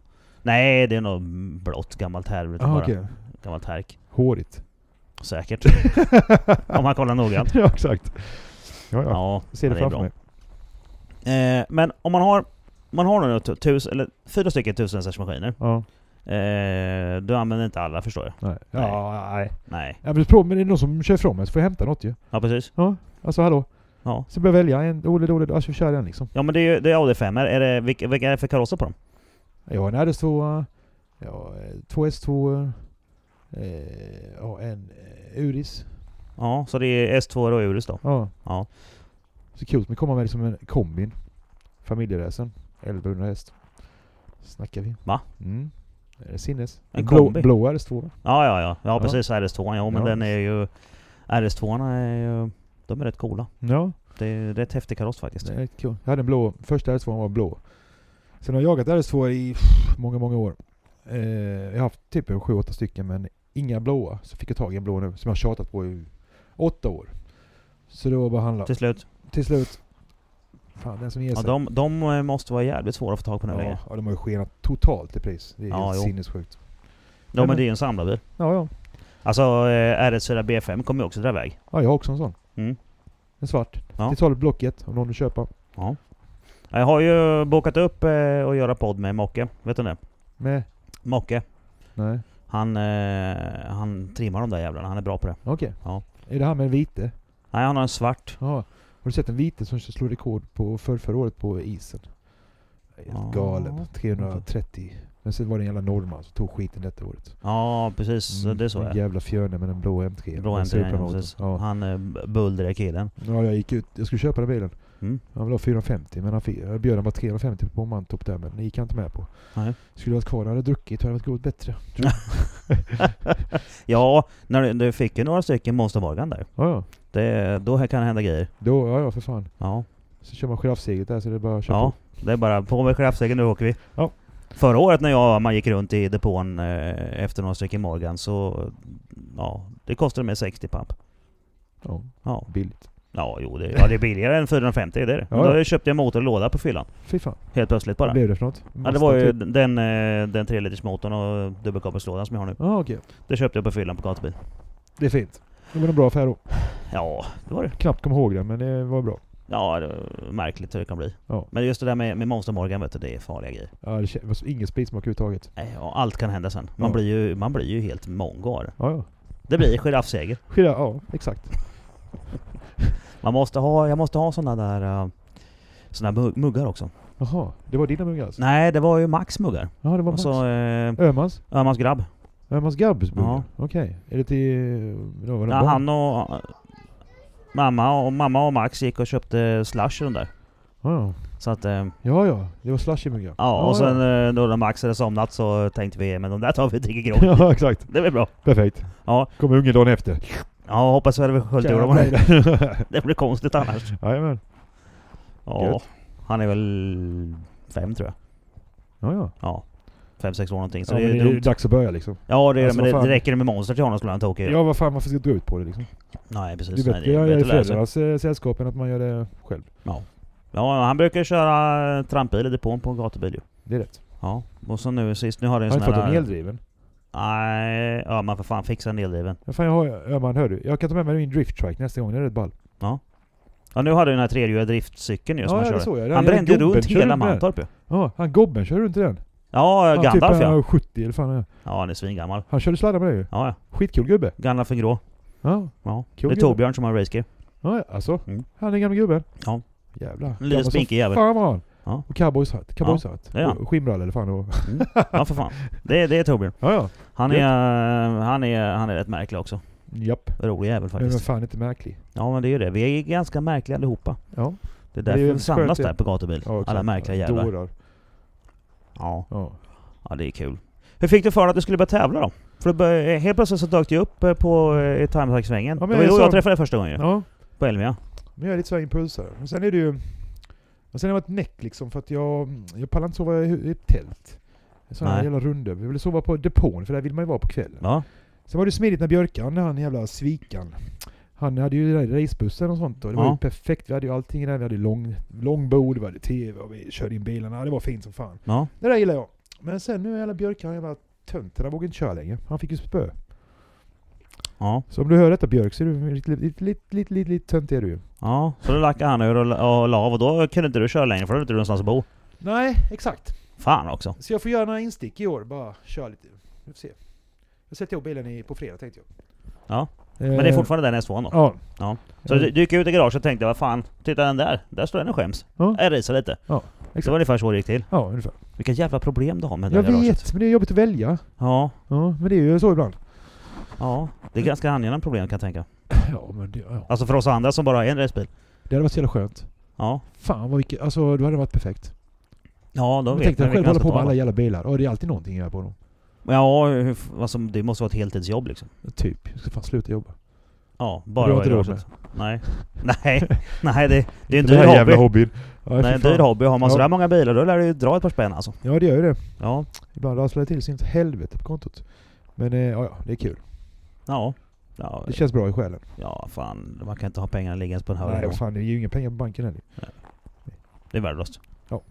Nej, det är nog blått gammalt härvligt
Ah,
bara.
okej.
Gammalt härk.
Hårigt.
Säkert. om man kollar noggrant.
*laughs* ja, exakt. Ja, ja.
Ja,
Jag ser det
men
framför mig.
Eh, men om man har... Man har nu tu- tus, eller fyra stycken tusenhästarsmaskiner.
Ja.
Eh, du använder inte alla förstår jag.
Nej. Ja, nej.
Nej.
Ja, men prova- men det är någon som kör ifrån mig så får jag hämta något ju.
Ja precis.
Ja, alltså hallå.
Ja.
Så börjar jag välja en dålig, dålig, alltså kör den liksom.
Ja men det är ju det är AD5. Är det, vilka, vilka är det för karosser på dem?
Jag har en RS2, ja, eh, två S2, eh, ja, en eh, Uris.
Ja, så det är S2 och Urus då.
Ja.
Ja.
Så kul att man kommer med liksom en kombin. Familjeräsen. 1100 häst. Snackar vi.
Va?
Mm. Är det sinnes?
En
blå,
kombi?
blå RS2 då?
Ja, ja, ja. Ja,
Ja.
precis. RS2, ja. Men
Ja.
den är ju... RS2 är ju... De är rätt coola.
Ja.
Det är ju rätt häftig kaross faktiskt.
Det är rätt kul. Jag hade en blå. Första RS2 var blå. Sen har jag jagat RS2 i pff, många, många år. Eh, jag har haft typ 7-8 stycken men inga blåa. Så fick jag tag i en blå nu som jag har tjatat på i åtta år. Så det var bara att handla.
Till slut.
Till slut. Fan den som ger
Ja,
sig.
de, de eh, måste vara jävligt svåra att få tag på nu
ja,
längre.
ja, de har ju skenat totalt i pris. Det är
Ja,
helt
jo.
sinnessjukt.
Ja, men
men-
det är ju en samlarbil.
Ja, ja.
Alltså eh, RS4 B5 kommer ju också dra iväg.
Ja, jag har också en sån.
Mm.
En svart.
Ja.
Till salu på Blocket om någon vill köpa.
Ja. Jag har ju bokat upp eh, att göra podd med Mocke. Vet du det?
Med?
Mocke.
Nej.
Han, eh, han trimmar de där jävlarna. Han är bra på det.
Okej.
Ja.
Är det här med en vite?
Nej, han har en svart.
Ja. Har du sett en vite som slog rekord på för, förra året på isen? Det är Helt
Ja.
galen. 330. Men sen var det en jävla norrman som tog skiten detta året.
Ja, precis.
Mm,
Det är så
en
jag.
jävla fjörne med en blå M3.
Bra
Den
MT.
supermotorn. Ja.
Han eh, b- bullriga killen.
ja, jag gick ut. Jag skulle köpa den bilen.
Mm.
Han ville ha 450 men han eh, fick, jag bjöd han bara 350 på Mantorp där men det gick han inte med på.
Nej.
Skulle varit kvar, han hade druckit, hade varit gått bättre.
Ja, när du, du fick ju några stycken Monster Morgan där.
Ja, ja.
Det, då här kan det hända grejer.
Då, ja, ja för fan.
Ja,
Så kör man giraffseget där så det är bara att köra
ja
på.
det är bara på med giraffsäcken nu åker vi.
Ja.
Förra året när jag, man gick runt i depån eh, efter några stycken Morgan så... Ja, det kostade mig 60 papp.
Ja,
Ja,
billigt.
ja jo det, ja, det är billigare än 450 det är det.
Ja,
Men
ja.
Då köpte jag motor och låda på fyllan.
Fy fan.
Helt plötsligt bara.
Vad blev det för något?
Ja, det var ju
Mustang, typ.
den, eh, den 3 liters motorn och dubbelkopplingslådan som jag har nu.
Ja, okej.
Det köpte jag på fyllan på gatubil.
Det är fint. Det var en bra affär då.
Ja, det var det.
Knappt kom ihåg det, men det var bra.
Ja, det var märkligt hur det kan bli.
Ja.
Men just det där med, med Monster Morgan vet du, det är farliga grejer.
Ja, det kä- var så- ingen spritsmak överhuvudtaget.
Nej, ja, allt kan hända sen. Man,
Ja.
blir, ju, man blir ju helt mongar.
Ja, ja.
Det blir
*laughs*
giraffseger.
Skira, ja, exakt.
Man måste ha, jag måste ha såna där... eh, såna mug- muggar också.
Jaha, det var dina muggar alltså?
Nej, det var ju Max muggar.
Jaha, det var
Och
Max.
så eh,
Öhmans?
Öhmans grabb.
Öhmans Gabbs muggar?
Ja.
Okej. Är det till... Då var det
Ja,
barn?
han och... eh, Mamma och, mamma och Max gick och köpte slush i den där.
Ja, ja.
Så att... Eh,
Ja, ja. Det var slushy muggar.
ja, och sen eh, då när Max hade somnat så tänkte vi men de där tar vi och dricker grogg.
*laughs* Ja. ja, exakt.
Det blir bra.
Perfekt.
Ja.
Kommer ungen dagen efter.
Ja, hoppas vi hade sköljt ur dem.
Jävlar.
*laughs* Det blir konstigt annars.
*laughs* Jajamän.
Ja,
Gött.
han är väl fem tror jag.
Ja, ja.
Ja. Fem, sex år någonting. Så
ja,
det är
men det är
dumt.
dags att börja liksom.
Ja det är
Alltså,
det, men
vad
det,
fan.
det räcker med monster till honom skulle han tokig.
Ja, vad fan varför ska du dra ut på det liksom?
Nej precis.
Det är
Nej,
bättre att göra det i
att lära sig.
föräldrarnas eh, sällskap än att man gör det själv.
Ja, han brukar köra trampbil i depån på en gatubil ju.
Det är rätt.
Ja. Och så nu sist, nu har du en
Har du
sån
inte fått en
här...
eldriven?
Nej, ja man får fan fixa en eldriven.
Ja, fan, jag har, ja, man hör du. Jag kan ta med mig min drifttrike nästa gång, den är rätt ball.
Ja nu har du den här trehjuliga driftcykeln ju som
ja,
han
ja, det
körde.
såg jag. Den
Han
jävla
brände ju
gobben
runt
kör
hela
runt med den.
Mantorp ju.
Ja, han gobben kör runt i den.
Ja,
Han
Gandalf
typ,
ja.
Han 70 eller fan är.
Ja han är svingammal.
Han körde sladdar med det ju.
Ja ja.
Skitkul gubbe.
Gandalf är grå.
Ja,
Ja. Det
Kul
är
gubbe.
Torbjörn som har racegear.
ja ja, alltså.
Mm.
Han är gamla gubben.
Ja.
Jävlar.
En
Gammal
liten
som
spinkig jävel.
Fan var han.
Ja.
Och cowboyshatt. Cowboyshatt.
det är han.
Och Skimrall eller fan och...
Ja för fan. Det, är- det är Torbjörn.
Ja, ja.
Han är, han, är, han är rätt märklig också.
Japp.
Rolig jävel
Men vad
faktiskt.
fan inte märklig.
Ja men det är ju det. Vi är ganska märkliga allihopa.
Ja.
Det är
det är
därför
ju
vi
skönt
samlas
det.
där på gatubil.
ja
Alla
exakt.
märkliga jävlar.
Dårar.
Ja.
Ja.
ja, det är kul. Hur fick du för dig att du skulle börja tävla då? För det bör- helt plötsligt så dök du upp eh, på eh, timeattack-svängen.
Ja, men
det var
jag
då
sa-
jag träffade dig första gången ju.
ja.
På Elmia.
Men jag är lite så här impulsare. Men sen är det ju... Och sen har jag varit näck liksom för att jag, jag pallar inte sova i i ett tält. Sådana här
Nej.
jävla rundor. Vi ville sova på depån för där vill man ju vara på kvällen.
Ja.
Sen var det smidigt när Björkan, han jävla svikan. Han hade ju den där racebussen och sånt och det var
Ja.
ju perfekt. Vi hade ju allting där. Vi hade lång, långbord, vi hade TV och vi körde in bilarna. Det var fint som fan.
Ja.
Det där gillar jag. Men sen nu är jävla Björkan jävla tönten. Han vågade inte köra längre. Han fick ju spö.
Ja.
Så om du hör detta Björk så är du lite, lite, lite, lite, lite, lite tönt är du ju.
Ja. Så då lackade han ur och la och la av och då kunde inte du köra längre för då hade inte du någonstans att bo.
Nej, exakt.
Fan också.
Så jag får göra några instick i år. Bara köra lite. Vi får se. Jag sätter ihop bilen i, på fredag tänkte jag. Eh,
Ja. Men det är fortfarande den S2 då.
Ja.
Ja. Så du du gick ut i garaget och tänkte vad fan, titta den där. Där står den och skäms.
Ja.
Jag racear lite.
Ja,
Det var ungefär så det gick till.
Ja, ungefär.
Vilka jävla problem du har med det
Jag
där garaget.
vet, men det är jobbigt att välja.
Ja.
Ja, men det är ju så ibland.
Ja. Det är ganska angenäma problem kan jag tänka.
Ja, men det, ja.
Alltså för oss andra som bara har en racebil.
det hade varit så jävla skönt.
Ja.
Fan vad vilket, alltså då hade det varit perfekt.
Ja, då
Jag
vet
tänkte
man
jag
vilka man
själv hålla
ska
på med alla
ta.
jävla bilar. Och det är alltid någonting jag gör på dem.
Ja, hur f- alltså, det måste vara ett heltidsjobb liksom.
Typ, jag ska fan sluta jobba.
Ja,
Du
bara
har
vara i
inte råd med
garaget. Nej. *laughs* Nej. Nej, det, det är en
Den här
dyr hobby.
jävla hobbyn. Ja, fy
Nej, en
fan.
dyr hobby. Har man
Ja.
sådär många bilar då lär det ju dra ett par spänn alltså.
Ja, det gör ju det.
Ja.
Ibland rasslar det till sin helvete på kontot. Men eh, ja, ja, det är kul.
Ja. Ja,
Det känns bra i själen.
ja, fan. Man kan inte ha pengarna liggandes på en hög
Nej,
nivå.
vad fan, det är ju inga pengar på banken heller.
Det är värdelöst.
Ja.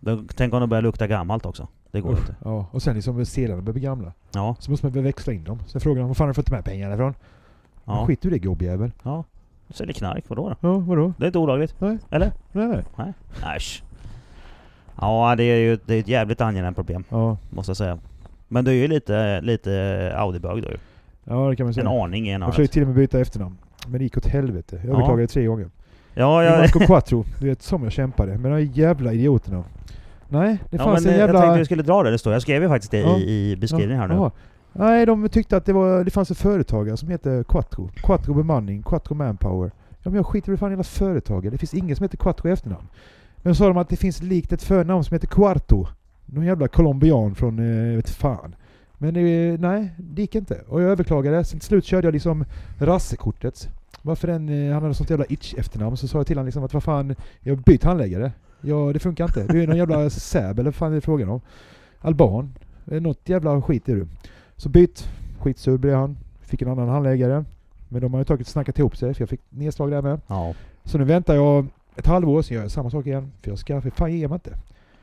Då- Tänk om de börjar lukta gammalt också. Det går
Usch,
inte.
Ja, och sen liksom sedlarna börjar bli gamla.
Ja.
Så måste man börja växla in dem. Sen frågar man var fan har du fått de här pengarna ifrån?
ja.
Men Skit du i det gubbjävel.
ja. Du säljer knark, vadå då?
Ja, vadå?
Det är inte olagligt.
Nej.
Eller?
Nej, nej.
Äsch. Ja, det är ju det är ett jävligt angenämt problem.
Ja,
måste jag säga. Men du är ju lite, lite Audi-bög då ju.
ja det kan man
En
säga.
aning är en
Jag försökte
annat.
till och med byta efternamn. Men det gick åt helvete. Jag överklagade tre gånger.
Ja,
Ja.
jag,
Marco
*laughs*
Quattro, du vet som jag kämpade. Men de här jävla idioterna. Nej, det
ja, men eh,
fanns en
jag
jävla...
tänkte vi skulle dra det, det står. Jag skrev ju faktiskt det
Ja.
i, i beskrivningen här nu.
Jaha. Nej, de tyckte att det, var, det fanns ett företagare som heter Quattro. Quattro Bemanning, Quattro Manpower. Ja, men jag skiter väl fan i hela företaget. Det finns ingen som heter Quattro i efternamn. Men så sa de att det finns likt ett förnamn som heter Quarto. Någon jävla colombian från, eh, jag vet fan. Men eh, nej, det gick inte. Och jag överklagade. Sen till slut körde jag liksom rassekortet. Varför den, eh, han hade sånt jävla itch-efternamn. Så sa jag till honom liksom att vad fan, jag har bytt handläggare. Ja, det funkar inte. Du är någon jävla *laughs* säb eller vad fan är det frågan om? Alban. Eh, Något jävla skit är du. Så bytt. Skitsur blev han. Fick en annan handläggare. Men de har ju tagit snackat ihop sig för jag fick nedslag där med.
Ja.
Så nu väntar jag ett halvår så gör jag samma sak igen. För jag ska för fan ge mig inte.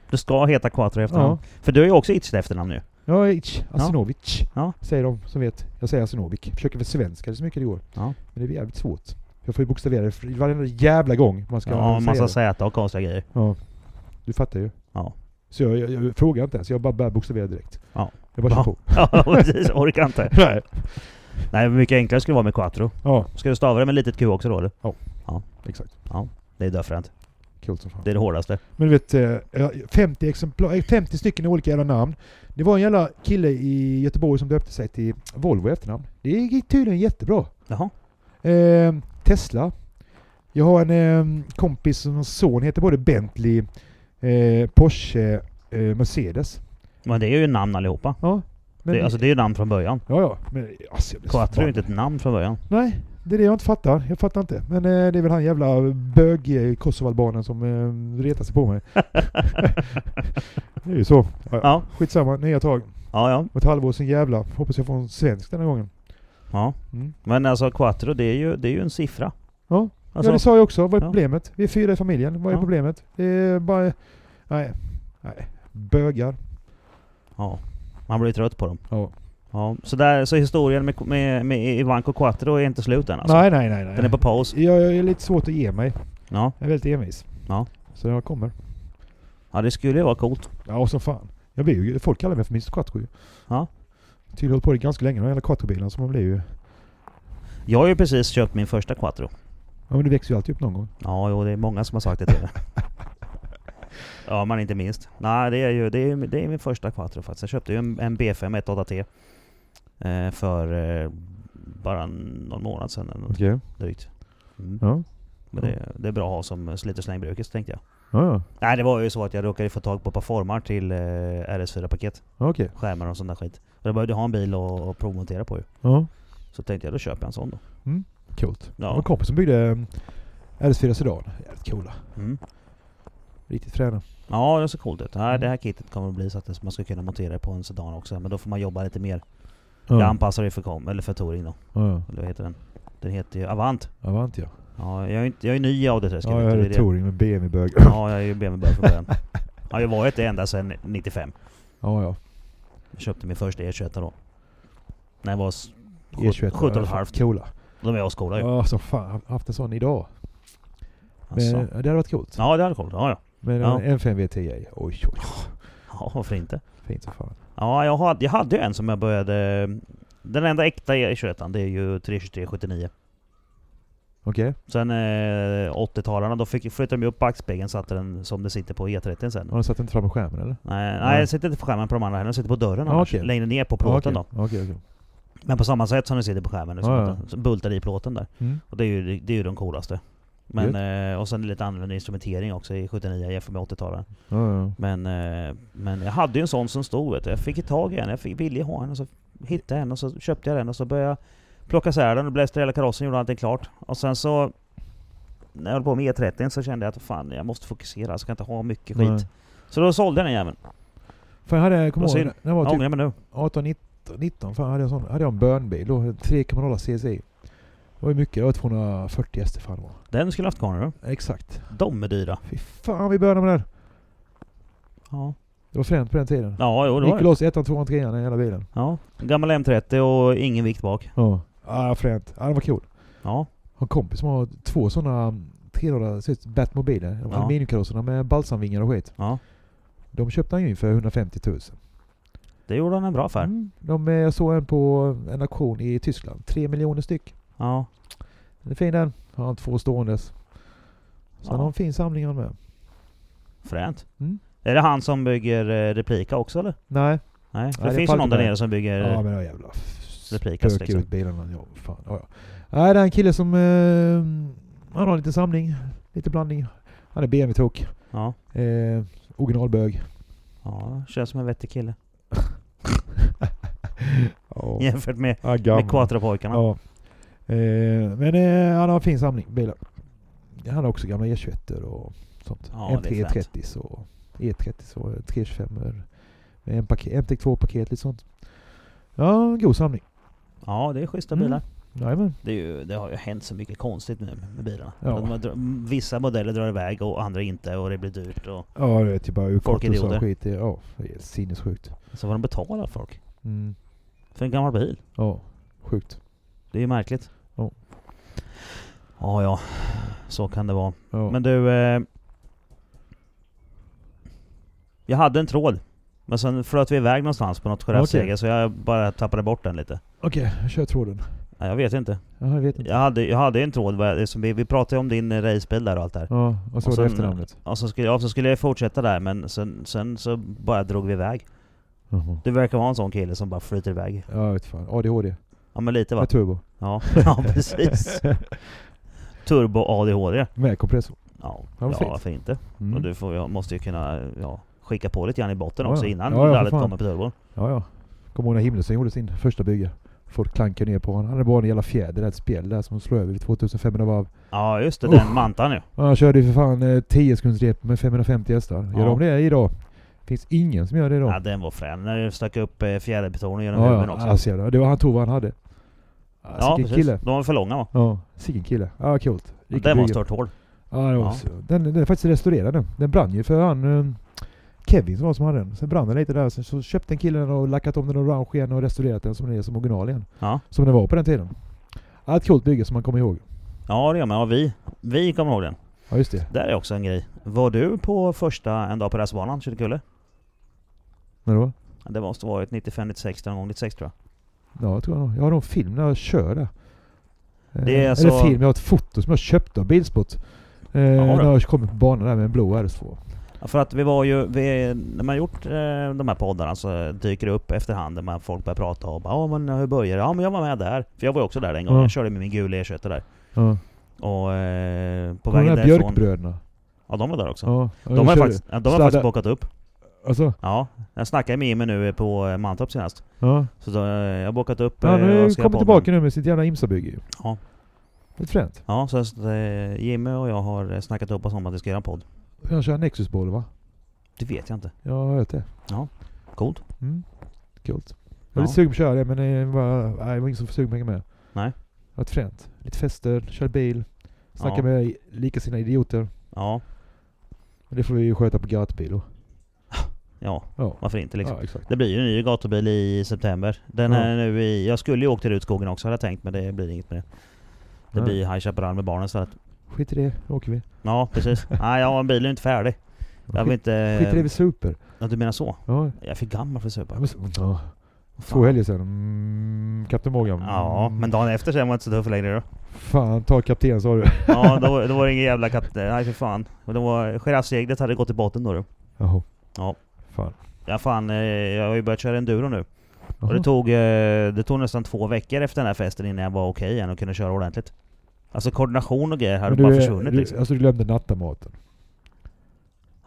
Du ska heta Quattro i efternamn.
Ja.
För du är ju också Itch efternamn nu.
Ja, ich, Asinovic.
Ja.
Säger de som vet. Jag säger Asinovic. Försöker försvenska det så mycket det går.
Ja.
Men det är jävligt svårt. Jag får ju bokstavera det för varenda jävla gång man ska
Ja,
säga
massa
det.
Z och konstiga grejer.
Ja. Du fattar ju.
Ja.
Så jag, jag, jag frågar inte ens. Jag bara börjar bokstavera direkt.
Ja.
Jag bara kör
Ja.
på.
Ja, *laughs* precis. Orkar inte.
*laughs* Nej.
Nej, men mycket enklare skulle det vara med Quattro.
Ja,
Ska du stava det med litet Q också då eller?
exakt.
Det är dödfränt.
Coolt som fan.
Det är det hårdaste.
Men du vet, eh, ja, 50, exemplar, eh, 50 stycken olika jävla namn. Det var en jävla kille i Göteborg som döpte sig till Volvo i efternamn. Det gick tydligen jättebra.
Jaha.
Eh, Tesla. Jag har en eh, kompis som hans son heter både Bentley, eh, Porsche, eh, Mercedes.
Men det är ju namn allihopa.
Ja, men,
Det, alltså det är ju namn från början.
ja, ja. Men, alltså, jag blir så
Quattro är ju
förbannad.
inte ett namn från början.
Nej, det är det jag inte fattar. Jag fattar inte. Men eh, det är väl han jävla bög kosovalbanen som eh, retar sig på
*laughs*
mig. det är ju så. Ja, ja.
Ja,
Skitsamma, nya tag.
ja, ja.
Om ett halvår sen jävla. Hoppas jag får en svensk den här gången.
ja.
Mm.
Men alltså Quattro, det är ju, det är ju en siffra.
Ja.
Alltså,
ja, det sa jag också. Vad är
Ja.
problemet? Vi är fyra i familjen. Vad är
Ja.
problemet? Det är bara... Nej. Nej. Bögar.
ja. Man blir trött på dem.
Ja.
Ja. Så, där, så historien med, med, med Ivanko Quattro är inte slut än alltså?
nej, nej, nej. nej.
Den är på paus?
jag, jag är lite svårt att ge mig.
Ja.
Jag är väldigt envis.
Ja.
Så jag kommer.
Ja, det skulle ju vara coolt.
Ja, som fan. Jag blir ju, folk kallar mig för Mr Quattro ju.
Ja.
Tydligen hållit på det ganska länge, de jävla quattrobilen, så man blir ju...
Jag har ju precis köpt min första Quattro.
Ja men det växer ju alltid upp någon gång.
Ja, jo, det är många som har sagt det
*laughs*
till mig. Ja, man inte minst. Nej, det är ju det är, ju- det är min första Quattro faktiskt. Jag köpte ju en, en B5 1.8T eh, för eh, bara någon månad sedan eller något
Okej.
drygt. Mm.
Ja.
Men det, det är bra att ha som slit och slängbruket tänkte jag.
Ja,
Nej det var ju så att jag råkade få tag på ett par formar till eh, RS4-paket.
ja. Okej.
Skärmar och sån där skit. Och jag behövde ha en bil och, och provmontera på ju.
Ja.
Så tänkte jag då köper jag en sån då.
Coolt. Det var en
Ja.
kompis som byggde mm, RS4 Sedan. Jävligt coola.
Mm.
Riktigt fräna.
Ja det ser coolt ut. Nej, det här kitet kommer att bli så att det- man ska kunna montera det på en sedan också. Men då får man jobba lite mer. Jag
Ja.
anpassar det för, kom, eller för touring då.
Ja, ja.
Eller vad heter den? Den heter ju Avant.
Avant ja.
Ja, jag är, inte, jag är ny i Audi-träsket.
Ja, jag
det är
hade
det.
touring med BMW-bög.
Ja, jag är ju BMW från början. Jag har ju varit det ända sedan 95.
Ja, ja.
Jag köpte min första E21 då. När jag var... s-
E21.
17 och ett halvt.
E Coola.
Då var jag och skolade ju.
Ja, som fan. Haft en sån idag. Men,
Alltså.
ja, det hade varit coolt.
Ja, det hade coolt. Ja, ja.
Men eh,
Ja.
en M5 V10 i. Oj, oj, oj.
Ja, varför inte?
Fint som fan.
Ja, jag hade, jag hade ju en som jag började... Den enda äkta E21 det är ju 32379.
Okej.
Sen eh, 80-talarna, då fick, flyttade de ju upp backspegeln satte den som det sitter på E30 sen.
Har du satt inte fram i skärmen eller?
Nej,
Nej.
nej, jag sitter inte på skärmen på de andra heller. Jag sitter på dörren
Ja,
annars.
okej.
Längre ner på plåten då.
Okej, okej. okej.
Men på samma sätt som den sitter på skärmen nu, som
Ja, ja.
att den bultar i plåten där.
Mm.
Och det är ju, det är ju den coolaste. Men, eh, och sen lite annorlunda instrumentering också i 79 jämfört med 80-talaren.
Ja, ja.
Men, eh, men jag hade ju en sån som stod vet du. Jag fick ju tag i en, jag fick, ville ha en och så hittade jag en och så köpte jag den och så började jag plocka isär den och blästra hela karossen gjorde allting klart. Och sen så när jag höll på med E30 så kände jag att fan jag måste fokusera, jag ska inte ha mycket skit.
Nej.
Så då sålde jag den jäveln.
Fan, jag hade, kommer
Vad
ihåg,
synd.
när jag var
Jag
typ
ångrar mig nu.
18, 19, 19 fan, hade, jag sån, hade jag en bönbil. Då 3,0 CSI. Det var ju mycket. Det var 240 hästar fan det var.
Den skulle jag haft kvar nu.
Exakt.
De är dyra.
Fy fan vi bönade med den.
Ja,
Det var fränt på den tiden.
ja jo, det
Gick
var det.
loss ettan, tvåan, trean i hela bilen.
Ja. Gammal M30 och ingen vikt bak.
Ja. Ah, fränt. Ja, ah, det var cool.
Ja.
Har en kompis som har två mm, sådana 300 ser ut som Batmobiler. De
Ja.
Aluminiumkarosserna med balsamvingar och skit.
ja.
De köpte han ju in för 150 000.
Det gjorde han en bra affär.
Mm. De, eh, jag såg en på en auktion i Tyskland. Tre miljoner styck.
Ja.
Den är fin den. Har han två ståendes. Så han har en
ja.
fin samling han med.
Fränt.
Mm.
Är det han som bygger eh, Replika också eller?
Nej.
Nej, för
Nej,
det
det
finns
är
ju någon där
Falkenberg.
nere som bygger...
Ja men de jävla
Replikas,
spöker
liksom.
ut bilarna. Ja, fan. Ja, ja. Nej, det är en kille som... Eh, han har en liten samling. Lite blandning. Han är BMW-tok.
ja.
Eh, originalbög.
Ja, känns som en vettig kille. *laughs*
Ja.
Jämfört med,
Ja, gammal.
med Quattropojkarna.
Ja. Eh, men eh, han har en fin samling bilar. Han har också gamla E21 och sånt.
Ja, det är fränt.
M330 och E30 och 325 med en paket, MT2-paket lite sånt. Ja, en god samling.
Ja, det är schyssta
Mm.
bilar.
Jajamän.
Det, är ju, det har ju hänt så mycket konstigt nu med bilarna.
Ja.
Att man drar- Vissa modeller drar iväg och andra inte och det blir dyrt. Och
Ja, du vet ju bara ur
Folk är
kort och sån
idioter.
skit. i- Ja, det är sinnessjukt.
så får de betala folk.
Mm.
För en gammal bil.
Ja, sjukt.
Det är ju märkligt.
Ja.
Ja, ja. Så kan det vara.
Ja.
Men du... Eh, jag hade en tråd. Men sen flöt vi iväg någonstans på något giraffseger så jag bara tappade bort den lite.
Okej, kör tråden.
Nej, jag vet inte.
Ja, jag vet inte.
Jag hade, jag hade en tråd, vad jag- som vi, vi pratade om din eh, racebil där och allt där.
Ja, och så
Och
var det
sen-
efternamnet.
Och så skulle, ja, så skulle jag fortsätta där men sen, sen så bara drog vi iväg.
Jaha.
Du verkar vara en sån kille som bara flyter iväg.
Ja, jag vet fan. ADHD.
Ja men lite va?
Med turbo.
Ja, *laughs* ja
*laughs*
precis. Turbo ADHD.
Med kompressor.
Ja,
Ja, vad
ja
fint.
varför inte?
Mm.
Och du får, jag måste ju kunna ja, skicka på lite grann i botten
Ja,
också
ja.
innan
Ja, ja, för
rallyt
fan.
kommer på turbon.
Ja, ja. Kommer ihåg när Himmelsson gjorde sin första bygge? Folk klankade ner på honom. Han hade bara en jävla fjäder, ett spjäll där som slog över vid 2500 varv.
Ja just det,
Uff.
den mantan ju.
Och han körde ju för fan eh, 10 sekunds rep med 550 hästar. Gör
Ja.
de det idag? Finns ingen som gör det
Ja
idag.
den var frän. När du stack upp eh, fjäderpetonen genom
Ja,
huven
ja.
också.
Alltså, jävlar. det var han tog vad han hade. Ja,
ja
Sicken
precis.
kille.
De var för långa va?
Ja, sicken kille. Ja, coolt. Riktigt
Den var
bygge.
stört hård.
Ja, det var
Ja.
så. Den, den är faktiskt restaurerad nu. Den brann ju för han eh, Kevin som var som hade den. Sen brann den lite där. Sen så köpte en kille den och lackat om den orange igen och restaurerat den som den är som original igen.
Ja.
Som den var på den tiden. Ja, ett coolt bygge som man kommer ihåg.
Ja det gör man. Ja, vi. Vi kommer ihåg den.
Ja just det.
Där är också en grej. Var du på första en dag på racerbanan, Kinnekulle?
När då?
Det måste varit 95, 96, någon gång 96 tror jag.
Ja jag tror jag nog. Jag har någon film när jag kör Eh, där.
Det är
Eh,
alltså-
Eller film, jag har ett foto som jag köpte av Bilspot. Eh,
Jaha då.
när jag kom på banan där med en blå RS2.
Ja, För att vi var ju, vi, när man gjort eh, de här poddarna så dyker det upp efterhand när man, folk börjar prata och bara ja men hur började det? Ja men jag var med där. För jag var ju också där den gången.
Ja.
Jag körde med min gula E20 där.
Ja.
Och eh, på
På de
vägen
där
därifrån...
björkbröderna.
Ja de var där också.
Ja. ja, jag
De har
körde.
faktiskt, ja, de har
Sladda-
faktiskt bockat upp.
Alltså,
Ja. Jag snackade med Jimmy nu på eh, Mantorp senast.
ja.
Så då, eh, jag har bockat upp...
Han
eh,
har
och
ju
ska göra
kommit
podden.
tillbaka nu med sitt jävla Imsabygge ju.
Ja.
Lite fränt.
Ja, så att, eh, Jimmy och jag har eh, snackat upp oss om att vi ska göra en podd.
Han kör Nexus-boll va?
Det vet jag inte.
Jag har hört det.
Coolt.
Mm. Coolt. Jag
Ja.
var lite sugen på att köra det men det var, nej, det var ingen som var sugen på att hänga med.
Nej.
Det var fränt. Lite fester, kör bil, snacka
Ja.
med likasinnade idioter.
Ja.
Men det får vi ju sköta på gatubil då.
Ja,
Ja.
varför inte liksom.
ja, exakt.
Det blir ju en ny gatubil i september. Den
Ja.
är nu i... Jag skulle ju åkt till Rutskogen också hade jag tänkt men det blir inget med det. Det
Nej.
blir High Chaparral med barnen så att...
Skit i det, nu åker vi.
Ja,
*laughs*
precis. Nej, ja, bilen är inte färdig. Jag vill
Skit,
inte... eh,
skit i det, vi super.
Ja, du menar så?
Ja.
Jag är för gammal för att supa.
Ja, men så- ja.
Fan.
Två helger sedan. Mm, Kapten Morgan.
Ja,
Mm,
men dagen efter sen var jag inte så tuff längre då.
Fan, ta kapten sa du. *laughs*
Ja, då, då var det ingen jävla kapten. Nej för fan. Och då var giraffseglet hade gått i botten då du.
Jaha.
Ja.
Fan.
Ja fan, eh, jag har ju börjat köra enduro nu. Och
Jaha.
det tog, eh, det tog nästan två veckor efter den här festen innan jag var okej igen och kunde köra ordentligt. Alltså koordination och grejer hade
Men
bara
du,
försvunnit
du,
liksom.
Alltså du glömde nattamaten.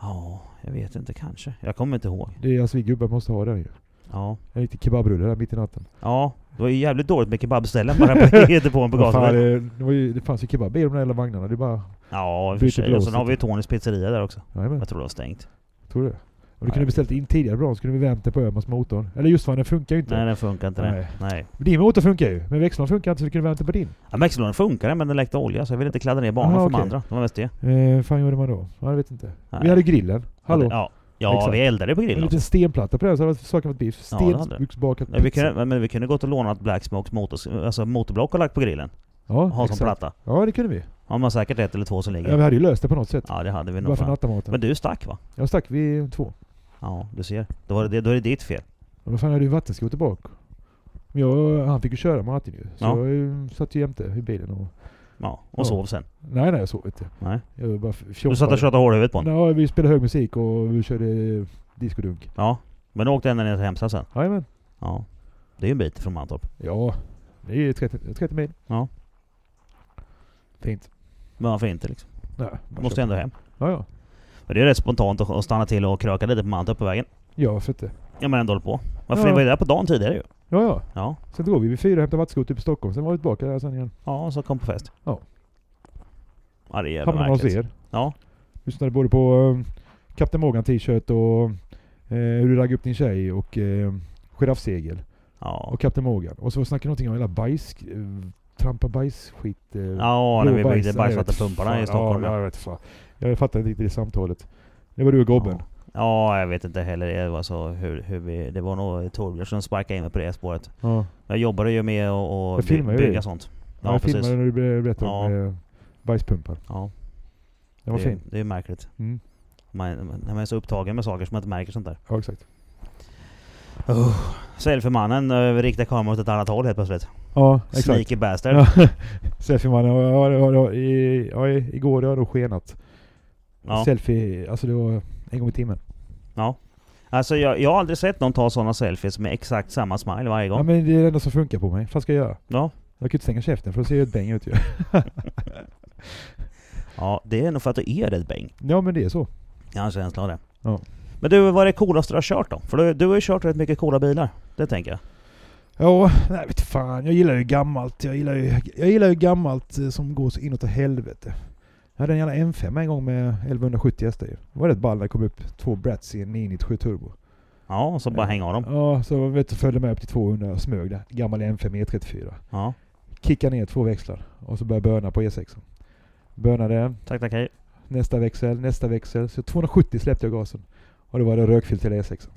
Ja, jag vet inte kanske. Jag kommer inte ihåg.
Det är, alltså vi gubbar måste ha den ju.
Ja.
En riktig kebabrulle där mitt i natten.
Ja, det var ju jävligt dåligt med kebabställen bara på
*laughs*
Göteborg på
Vad fan,
gatan.
det, det, var ju, det fanns ju kebab i de där jävla vagnarna. Det är bara...
Ja, i och för
Byter
sig. Och
blås
sen har vi ju Tonys pizzeria där också.
Jajamän,
Jag tror det var stängt.
tror du det? Om du
Nej.
kunde beställt in tidigare bra så kunde vi vänta på Öhmans motorn. Eller just vad, den funkar ju inte.
Nej, den funkar inte. Nej.
Nej.
Nej.
Din motor funkar ju, men växlarna funkar inte så vi kunde vänta på din.
Ja, Maxelådan funkade men den läckte olja så jag ville inte kladda ner banan
Aha,
för de
okej.
andra. Det var mest det.
Eh, fan gjorde man då? Ja, jag vet inte.
Nej.
Vi hade grillen. Hallå?
Ja, ja
Exakt.
vi eldade på
en
grillen också.
liten stenplatta på den så hade saken varit biff.
Ja, det hade det.
Stenbyxbakat
Nej, vi
pizza.
kunde, men vi kunde gått och lånat Blacksmokes motor, alltså motorblock och lagt på grillen
Ja,
och ha som
exakt.
platta.
Ja, det kunde vi.
Har man säkert ett eller två som
Ja,
ligger.
vi hade ju löst det på något sätt.
Ja det hade vi nog
Varför
fan.
nattamaten?
Men du stack va?
Jag stack vid två.
Ja, du ser. Då, var det, då är det ditt fel.
Men vad fan hade ju vattenskoter bak. Men Jag, han fick ju köra Martin ju. Så
Ja.
jag eh, satt ju jämte i bilen och...
Ja, och
Ja.
sov sen.
Nej, nej jag sov inte.
Nej.
Jag bara
Du satt och tjötade hårhuvudet på honom.
Ja, vi spelade hög musik och vi körde discodunk.
Ja. Men du åkte ända ner till Hemsa sen.
Jajamän.
Ja. Det är ju en bit från Mantorp.
Ja, det är ju 30, 30 mil.
Ja.
Fint.
Men varför inte liksom?
Nej,
Du måste ju ändå hem.
Ja, ja.
Men det är rätt spontant att- att stanna till och kröka lite på Mantorp på vägen.
Ja, fett det.
Ja men ändå håll på. Varför
Ja.
ni var ju där på dagen tidigare ju.
Ja, ja.
Ja.
Sen drog vi vid fyra och hämtade vattenskoter upp i Stockholm. Sen var vi tillbaka där sen igen.
Ja, och så kom på fest.
Ja.
Ja det är jävla
Hamnade hos
märkligt.
er.
Ja.
Lyssnade både på um, Captain Morgan t-shirt och eh, hur du raggade upp din tjej och eh, giraffsegel.
Ja.
Och Captain Morgan. Och så snackade någonting om hela bajs... Eh, trampa bajsskit. Eh,
Ja, när vi
blåbajs.
byggde
Jag vet
bajsvattenpumparna i
fan.
Stockholm.
Ja,
Ja,
jag vet fan. Jag fattar inte riktigt det samtalet. Det var du och Gobben.
ja, jag vet inte heller. Det var, så hur, hur vi, det var nog Torbjörn som sparkade in mig på det spåret.
Ja.
Jag jobbade ju med att
Jag
att by,
filmar ju
bygga
det.
sånt. Ja,
Ja, jag
precis.
filmade när du ber- berättade om
Ja.
eh, bajspumpan.
Ja,
Den var
det,
fin.
det är ju märkligt.
Mm.
Man, när man är så upptagen med saker som man inte märker sånt där.
Ja, exakt.
Oh. Selfiemannen uh, riktar kameran åt ett annat håll helt plötsligt.
Ja, exakt.
Sneaky bastard.
Ja. *laughs* Selfiemannen. Ja, ja, ja, ja, i- ja, i- igår har jag då skenat.
Ja.
Selfie, alltså det var en gång i timmen.
Alltså jag, jag har aldrig sett någon ta sådana selfies med exakt samma smile varje
Ja,
gång.
men det är det enda som funkar på mig. Vad ska jag göra?
Ja,
Jag kan ju inte stänga käften för då ser jag ett bäng ut ju.
ja det är nog för att du är rätt bäng.
Ja men det är så.
Jag har en känsla av det.
Ja.
Men du, vad är det coolaste du har kört då? För du, du har ju kört rätt mycket coola bilar. Det tänker jag.
Ja, nej vet fan. Jag gillar ju gammalt. Jag gillar ju, jag gillar ju gammalt eh, som går så inåt i helvete. Jag hade en jävla M5 en gång med 1170 hästar ju. Det var rätt ball när det kom upp två Bratz i en 997 turbo.
Ja, och så bara
Ja.
hänga av dem.
Ja, så vet du, följde med upp till 200 och smög där. Gammal M5 E34.
Ja,
Kickade ner två växlar och så började jag böna på E6. Bönade den,
tack tack hej.
nästa växel, nästa växel. Så 270 släppte jag gasen. Och då var det rökfyllt till E6.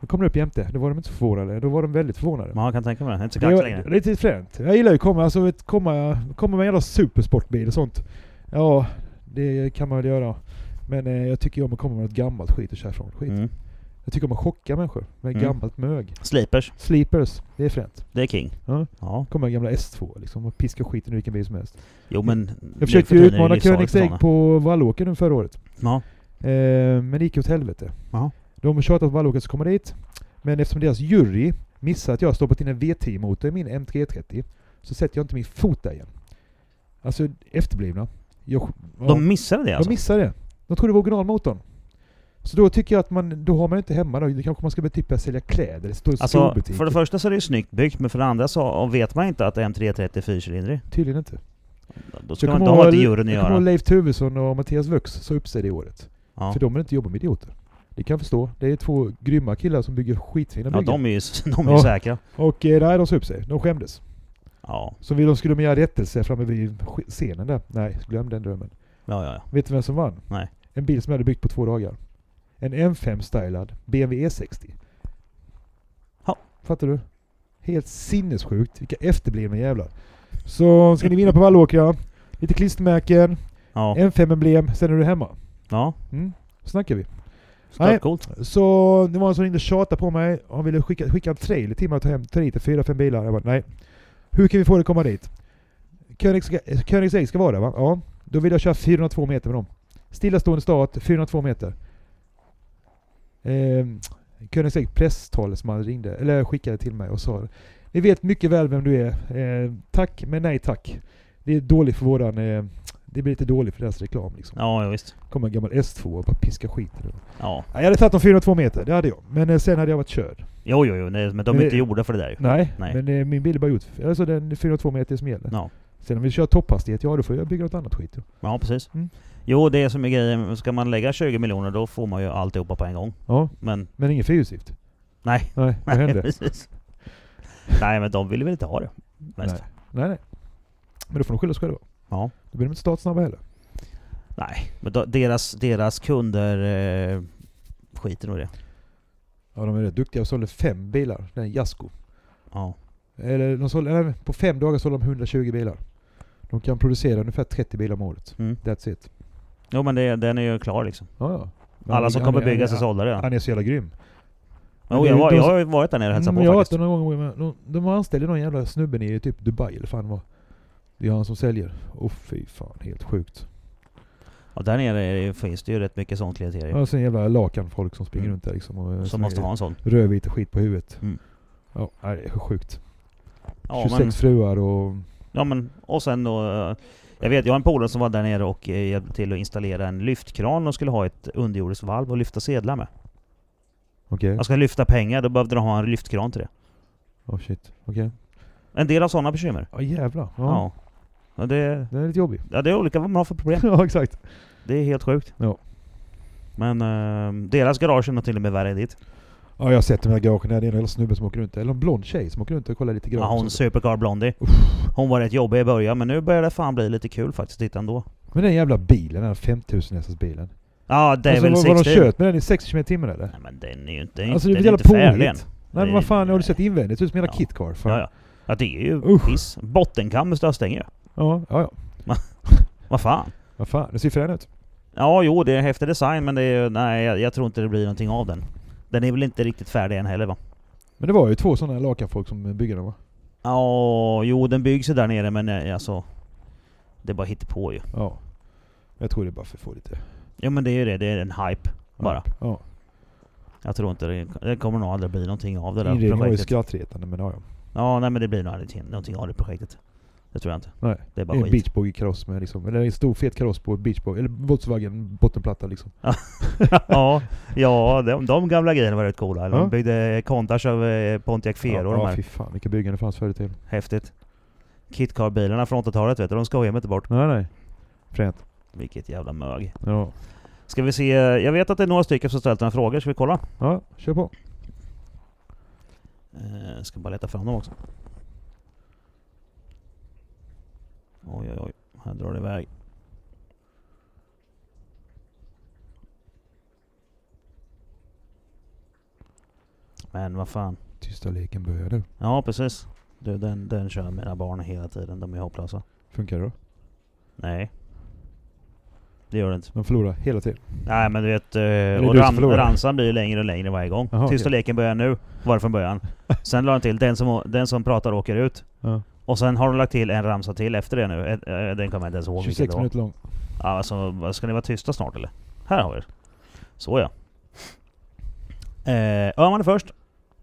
Då kom det upp jämte. Då var de inte så förvånade. Då var de väldigt förvånade.
Man kan tänka mig det. Det är Inte så
Det
kaxigt
är
längre.
lite fränt. Jag gillar ju att komma, alltså, vet, komma, komma med en jävla supersportbil och sånt. Ja, det kan man väl göra. Men eh, jag tycker ju om att komma med något gammalt skit och köra ifrån skit.
Mm.
Jag tycker om att chocka människor med
Mm.
gammalt mög.
Sleepers,
Sleepers, det är fränt.
det är king.
Ja.
Ja.
Komma med gamla S2 liksom och piska skiten ur vilken bil som helst.
Jo men... nu
Jag försökte
för
ju
tiden är det
utmana
livsfarligt för
Koenigsegg
sådana.
på Vallåker nu förra året.
Ja.
Eh, men det gick åt helvete.
Jaha.
De tjatade på Wallåker att komma dit. Men eftersom deras jury missade att jag stoppat in en V10-motor i min M330 så sätter jag inte min fot där igen. Alltså efterblivna. Jag, ja,
De missade det alltså?
de missade det. De trodde det var originalmotorn. Så då tycker jag att man, då har man ju inte hemma då. Det kanske man ska börja typ börja sälja kläder. Det står
Alltså,
storbutik.
för det första så är det ju snyggt byggt, men för det andra så vet man inte att M330 är fyrcylindrig.
Tydligen inte.
Då
Så
ska man
jag kommer
inte ha
ihåg-
det juryn att
Jag kommer ihåg
göra.
Leif Tuvesson och Mattias Vux sa upp sig det året.
Ja.
För de vill inte jobba med idioter. Det kan jag förstå. Det är två grymma killar som bygger skitfina
Ja,
byggen.
de är ju, *laughs* de är ju
Ja.
säkra.
Och eh, nej, de sa upp sig. De skämdes.
Ja,
Så vill de skulle de göra rättelse framme vid sk- scenen där. Nej, glöm den drömmen.
ja, ja. ja.
Vet du vem som vann?
Nej.
En bil som jag hade byggt på två dagar. En M5-stylad BMW E60.
Ja.
E Fattar du? Helt sinnessjukt. Vilka efterblivna jävlar. Så ska ni vinna på Vallåkra. Lite klistermärken,
ja.
M5-emblem, sen är du hemma.
ja.
Mm. Snackar vi. Nej.
Stöpcoolt.
Så det var en som ringde och tjatade på mig. Han ville skicka, skicka en trailer till mig att ta, hem, ta dit fyra, fem bilar. Jag bara nej. Hur kan vi få det att komma dit? Königs- eh, Königsegg ska vara där va? Ja. Då vill jag köra 402 meter med dem. Stillastående start, 402 meter. Eh, Königsegg presstalesman ringde, eller skickade till mig och sa Ni vet mycket väl vem du är. Eh, tack, men nej tack. Det är dåligt för våran... Eh, det blir lite dåligt för deras reklam liksom.
Ja, ja, visst.
Kommer en gammal S2 och bara piska skit i det.
Ja.
Ja, Jag hade tagit de 402 meter, det hade jag. Men eh, sen hade jag varit körd.
Jo, jo, jo. Nej, men de
Men
är
det-
inte gjorda för det där ju.
Nej,
Nej.
men eh, min bil är bara gjort... Alltså den är 402 meter som gäller.
Ja.
Sen om vi kör topphastighet, ja då får jag bygga något annat skit. då.
Ja, precis.
Mm.
Jo, det är som är grejen. Ska man lägga 20 miljoner då får man ju alltihopa på en gång.
Ja,
Men
men ingen fyrhjulsdrift.
nej.
Nej,
*laughs*
vad
nej,
hände?
precis. Nej, men de ville väl inte ha det. Mest.
Nej. Nej, nej. Men då får de skylla sig själva.
Ja.
Då blir de inte startsnabba heller.
Nej, men då, deras, deras kunder eh, skiter nog i det.
Ja, de är rätt duktiga. De sålde fem bilar, den Jasko.
Ja.
Eller de sålde, nej, på fem dagar sålde de 120 bilar. De kan producera ungefär 30 bilar om året.
Mm.
That's it.
Jo, men det, den är ju klar liksom.
Ja, ja. Men
Alla
han-
som
han-
kommer
han-
bygga sig
han-
sålda redan.
Han är så jävla grym. Men
Jo,
det är
jag,
ju
var,
de
jag
som-
har ju varit där nere och hälsat
Mm, jag
på
har varit
faktiskt.
där någon gång, men de, de anställde någon jävla snubbe i typ Dubai eller fan vad. Det är han som säljer. Åh fy fan, helt sjukt.
Ja, där nere är det ju- finns det ju rätt mycket sånt klienter ju,
Och sen jävla lakan folk som springer
Mm.
runt där liksom. Och
som måste ha en sån.
Rödvit skit på huvudet.
Mm.
Ja, nej, det är sjukt.
Ja,
26
men,
fruar och...
ja, men och sen då... eh, Jag vet, jag har en polare som var där nere och eh, hjälpte till att installera en lyftkran och skulle ha ett underjordiskt valv och lyfta sedlar med.
Okej.
Jag ska lyfta pengar, då behövde de ha en lyftkran till det.
Åh shit. Okej.
En del av sådana bekymmer.
Ja jävlar. Ja.
Ja. ja. Det,
Det är lite jobbigt.
ja, det är olika vad man har för problem.
*laughs* ja exakt.
Det är helt sjukt.
Ja.
Men eh, deras garage är nog till och med värre än ditt.
Ja jag har sett de här garagen där. Det är en jävla snubbe som åker runt. Eller en blond tjej som åker runt och kollar lite
Ja,
garage.
hon Supercar Blondie. Hon var rätt jobbig i början, men nu börjar det fan bli lite kul faktiskt att titta ändå.
Men den jävla bilen, den här 5000 hästars bilen.
Ja, det är
Alltså,
väl
vad, vad de
60.
kört med den i 60 km i timmen eller?
Nej men den är ju inte, den är
Alltså, det
inte,
är
den är inte
väl jävla
färdig än.
påligt. Nej men vad fan, har du sett invändigt? Det ser ut som en jävla
Ja.
KitKar. Fan.
Ja, ja. ja det är ju
Usch.
piss. Bottenkam med stötstänger ju.
Ja, ja, ja.
Vad fan.
Vad fan, det ser frän ut.
Ja jo, det är en häftig design men det är ju, nej jag, jag tror inte det blir någonting av den. Den är väl inte riktigt färdig än heller va?
Men det var ju två sådana lakanfolk som byggde den va?
Ja, jo den byggs ju där nere men eh, alltså... Det är bara hittepå ju.
Ja. Jag tror det är bara för att få lite...
Ja men det är ju det, det är en hype bara.
Ja.
Jag tror inte det, det kommer nog aldrig bli någonting av det där
Inredningen var ju
projektet.
skrattretande men ja, ja.
Ja nej men det blir nog aldrig till- någonting av det projektet. Det tror jag inte.
Nej.
Det är
Det
bara
är en
skit.
Beach Boogie-kaross med liksom, eller en stor fet kaross på Beach Boogie, eller Volkswagen bottenplatta liksom.
*laughs* ja, ja de, de gamla grejerna var rätt coola. De
Ja.
byggde Countach av eh, Pontiac Fiero
ja,
och de
ja,
här.
fy fan vilka byggen det fanns förr i tiden.
Häftigt. Kitcar-bilarna från 80-talet vet du, de skojar man inte bort.
Nej nej. Fränt.
Vilket jävla mög.
Ja.
Ska vi se, eh, jag vet att det är några stycken som ställt några frågor, ska vi kolla?
Ja, kör på.
Eh, ska bara leta fram dem också. Oj oj oj, här drar det iväg. Men vad fan.
Tysta leken börjar nu.
Ja, precis. Du, den, den kör mina barn hela tiden. De är hopplösa.
Funkar det då?
Nej. Det gör det inte.
De förlorar hela tiden.
Nej men du vet, eh,
du
och
som
ram,
förlorar.
ramsan blir ju längre och längre varje gång.
Jaha,
Tysta
okej.
leken börjar nu, var det från
*laughs*
början. Sen la den till, den som, den som pratar åker ut.
Ja.
Och sen har de lagt till en ramsa till efter det nu. Ett- eh, Den kommer jag inte ens ihåg vilken
26
det var.
minuter lång.
Ja, Alltså, vad, ska ni vara tysta snart eller? Här har vi det. Så ja. Eh, Öhman är först.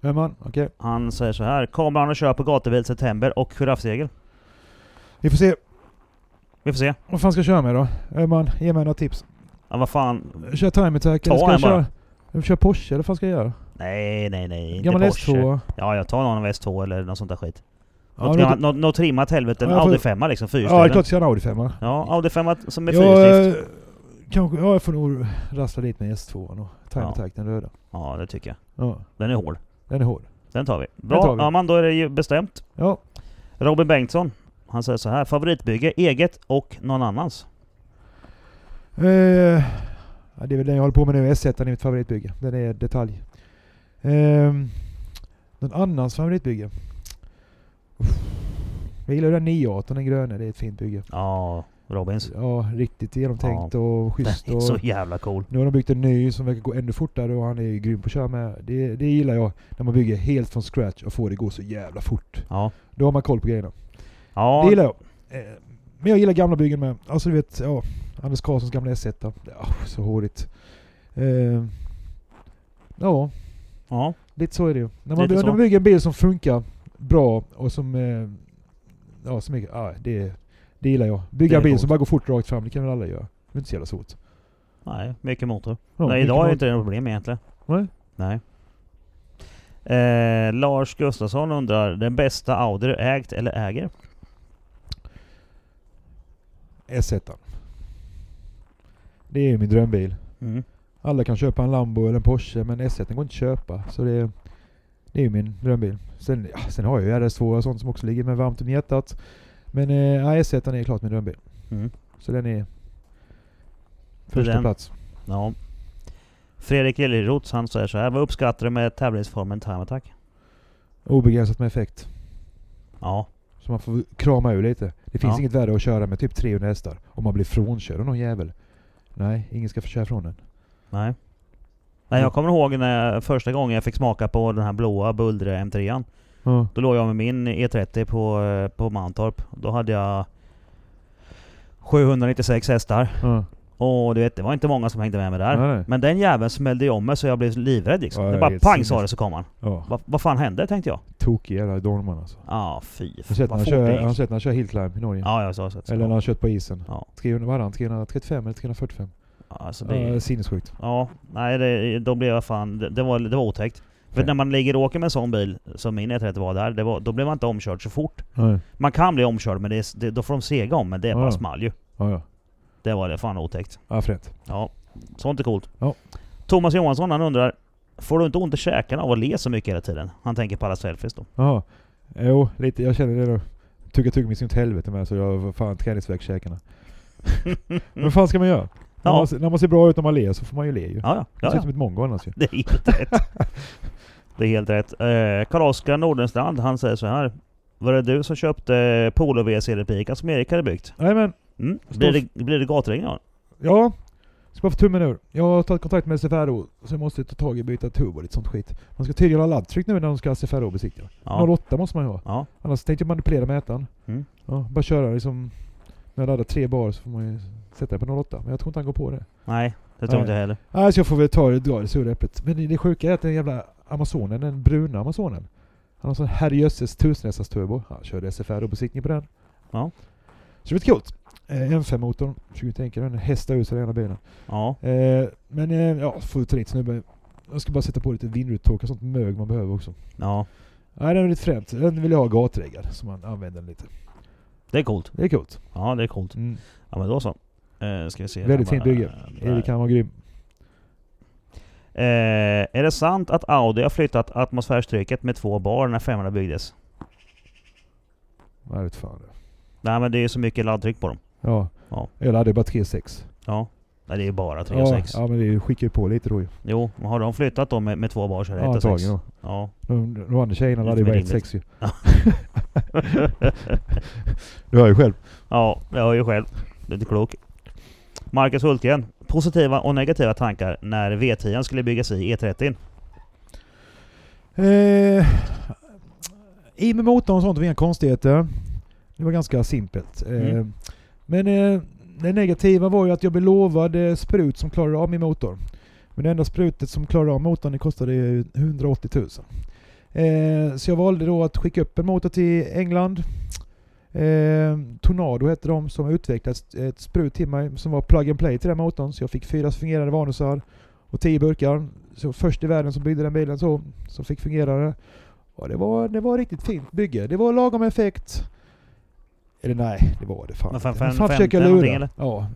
Öhman, okej.
Han säger så här. Kameran och kör på gatubil september och giraffsegel.
Vi får se.
Vi får se.
Vad fan ska jag köra med då? Öhman, ge mig några tips.
Ja, vad fan.
Kör time attack eller
Ta
ska jag
en bara.
köra... Jag köra Porsche eller vad fan ska jag göra?
Nej, nej, nej. Inte
Gammal
Porsche.
S2.
Ja, jag tar någon av S2 eller något sånt där skit.
Ja,
något,
då-
gammalt, något, något trimmat helvete. En
Ja, jag får-
Audi 5 liksom.
Ja, det är
Fyrhjulsdriven.
klart jag ska köra en Audi 5
Ja, Audi 5 som är
jag,
fyrhjulsdrift.
eh, kanske, ja, jag får nog rassla dit med S2 och time
Ja.
attack, den röda.
Ja, det tycker jag.
Ja,
Den är hård.
den är hård.
Den tar vi. Bra,
tar vi.
Ja, men då är det ju bestämt.
Ja,
Robin Bengtsson. Han säger så här. Favoritbygge, eget och någon annans.
Eh, ja, det är väl den jag håller på med nu. S1 är mitt favoritbygge. Den är detalj. Eh, någon annans favoritbygge? Uff. Jag gillar ju den 918, den gröna. Det är ett fint bygge.
Ja, Robins.
Ja, riktigt genomtänkt och
Den
schysst.
är
Och
Mm. så jävla cool.
nu har de byggt en ny som verkar gå ännu fortare och han är ju grym på att köra med. Det, det gillar jag. När man bygger helt från scratch och får det gå så jävla fort.
Ja.
Då har man koll på grejerna.
Ja,
Det gillar jag. Eh, Men jag gillar gamla byggen med. Alltså du vet, ja, Anders Karlssons gamla S1. då. Ja, så hårigt. Eh, ja,
ja.
lite så är det ju. När man,
Lite
när
så.
man bygger en bil som funkar bra och som... Eh, ja, som är, ja, det, det gillar jag.
Det
Bygga
är
en bil
coolt.
som bara går fort rakt fram, det kan väl alla göra. Det är inte så jävla svårt.
Nej, mycket motor.
Ja,
Nej,
mycket
idag är
bra.
det inte det något problem egentligen.
Nej.
Nej. Eh, Lars Gustafsson undrar, den bästa Audi du ägt eller äger?
S1. Det är ju min drömbil.
Mm.
Alla kan köpa en Lambo eller en Porsche men S1 den går inte att köpa. Så det, det är ju min drömbil. Sen, ja, sen har jag ju RS2 och sånt som också ligger mig varmt om hjärtat. Men eh, ja, S1 är klart min drömbil.
Mm.
Så den är
För
första
den-
plats.
Ja. Fredrik Liljeroth, han säger så här, vad uppskattar du med tävlingsformen Time Attack?
Obegränsat med effekt.
Ja,
Så man får krama ur lite. Det finns
Ja.
inget värre att köra med typ 300 hästar. Om man blir frånkörd av någon jävel. Nej, ingen ska få köra från den.
nej.
Mm.
Nej, jag kommer ihåg när jag, första gången jag fick smaka på den här blåa bullriga M3an.
Ja.
Då låg jag med min E30 på, eh, på Mantorp. Då hade jag 796 hästar.
Ja.
Och du vet, det var inte många som hängde med mig där.
Nej, nej.
Men den jäveln smällde ju om mig så jag blev livrädd liksom.
Ja,
det
jag
bara
vet.
pang sa det så kom han.
Ja.
Va, vad fan hände tänkte jag?
Tokig jävla dorman alltså.
Ja, ah, fy
Har du sett när
vad
han
fort
kör-
det
har du
gick.
sett när han kör hillclimb i Norge?
Ja, jag sa så. så.
Eller när han kört på isen.
Ja.
300, vad hade han? 335 eller 345?
Ja, alltså det,
Det... Sinnessjukt.
ja, nej det, då blev jag fan... Det, det, var, det var otäckt. För
Nej.
när man ligger och åker med en sån bil, som min E30 var där, det var, då blir man inte omkörd så fort.
Ja,
Man kan bli omkörd men det, är- det, då får de sega om men det är bara
Ja.
small ju.
ja.
Det var det fan otäckt.
Ja, fränt.
Ja, sånt är coolt.
Ja.
Thomas Johansson han undrar, får du inte ont i käkarna av att le så mycket hela tiden? Han tänker på alla selfies då.
Jaha. Jo, lite. Jag känner det då. Tugga tuggummi sin åt helvete med så jag får fan träningsvärk i käkarna. *laughs* Men vad fan ska man göra? När,
Mm. Ja.
man, se- när man ser bra ut när man ler så får man ju le ju.
Ja, ja.
Det ser
ja,
ut
ja.
som ett mongo annars ju.
*laughs* Det är helt
*laughs*
rätt. Det är helt rätt. Eh, Karl-Oskar Nordenstrand, han säger så här. Var det du som köpte Polo WC replikan som Erik hade byggt?
Nej men,
Mm.
Stoff.
Blir det, blir det gatring av
ja. Ska bara få tummen ur. Jag har tagit kontakt med SFRO så jag måste ta tag i och byta turbo och lite sånt skit. Man ska tydligen ha laddtryck nu när de ska SFRO besiktiga.
Ja.
08 måste man ju ha.
ja.
Annars tänkte jag manipulera mätaren.
Mm.
Ja, bara köra liksom... När jag laddar tre bar så får man ju sätta det på 08. Men jag tror inte han går på det.
Nej, det tror
Nej.
inte jag heller.
Nej, så jag får väl ta det, dra det sura äpplet. Men det- det sjuka är att den jävla Amazonen, den bruna Amazonen. Han har sån herrejösses tusenhästars turbo. Han körde SFR och besiktning på den.
Ja.
Så det blir coolt. Eh, M5-motorn, 20 enkelt. Den hästar ut sig den ena bilen.
Ja.
Eh, men eh, ja, får ta dit snubben. Jag ska bara sätta på lite vindrutetorkare och sånt mög man behöver också.
ja.
Nej, den är lite fränt. Den vill jag ha gatreggad, så man använder den lite.
Det är coolt.
Det är coolt.
Ja, det är coolt.
Mm.
Ja men då så. Eh, ska vi se.
Väldigt
här
fint
bara-
bygge.
där.
Erik han var grym.
Eh, är det sant att Audi har flyttat atmosfärstrycket med två bar när 500 byggdes?
Jag vet fan.
Nej men det är ju så mycket laddtryck på dem.
Ja.
Ja.
Jag laddade bara 3,6.
Ja. Nej det är ju bara 3 och
Ja,
6.
ja, men det skickar ju på lite då ju.
Jo, men har de flyttat då med, med två bar så är det
Ja,
1 och 6.
antagligen. då.
Ja.
De, de andra tjejerna
Lite
laddade
mer
ju bara
rimligt.
1,6 ju. *laughs* Du hör ju själv.
ja, jag hör ju själv. Det är inte klok. Marcus Hultgren. Positiva och negativa tankar när V10 skulle byggas i E E30.
Eh, I med motorn och sånt var inga konstigheter. Det var ganska simpelt. Eh,
Mm.
Men eh, det negativa var ju att jag blev lovad eh, sprut som klarade av min motor. Men Men det enda sprutet som klarade av motorn det kostade ju 180 000. Eh, så jag valde då att skicka upp en motor till England. Eh, Tornado hette de som utvecklade ett- ett sprut till mig som var plug and play till den motorn. Så jag fick fyra fungerande vanusar och tio burkar. Så först i världen som byggde den bilen så, som fick fungera det. Och det var, det var ett riktigt fint bygge. Det var lagom effekt. Eller nej, det var det fan
Men fan-
inte.
fan-
fan
50
försöker jag
någonting,
lura.
eller?
Ja.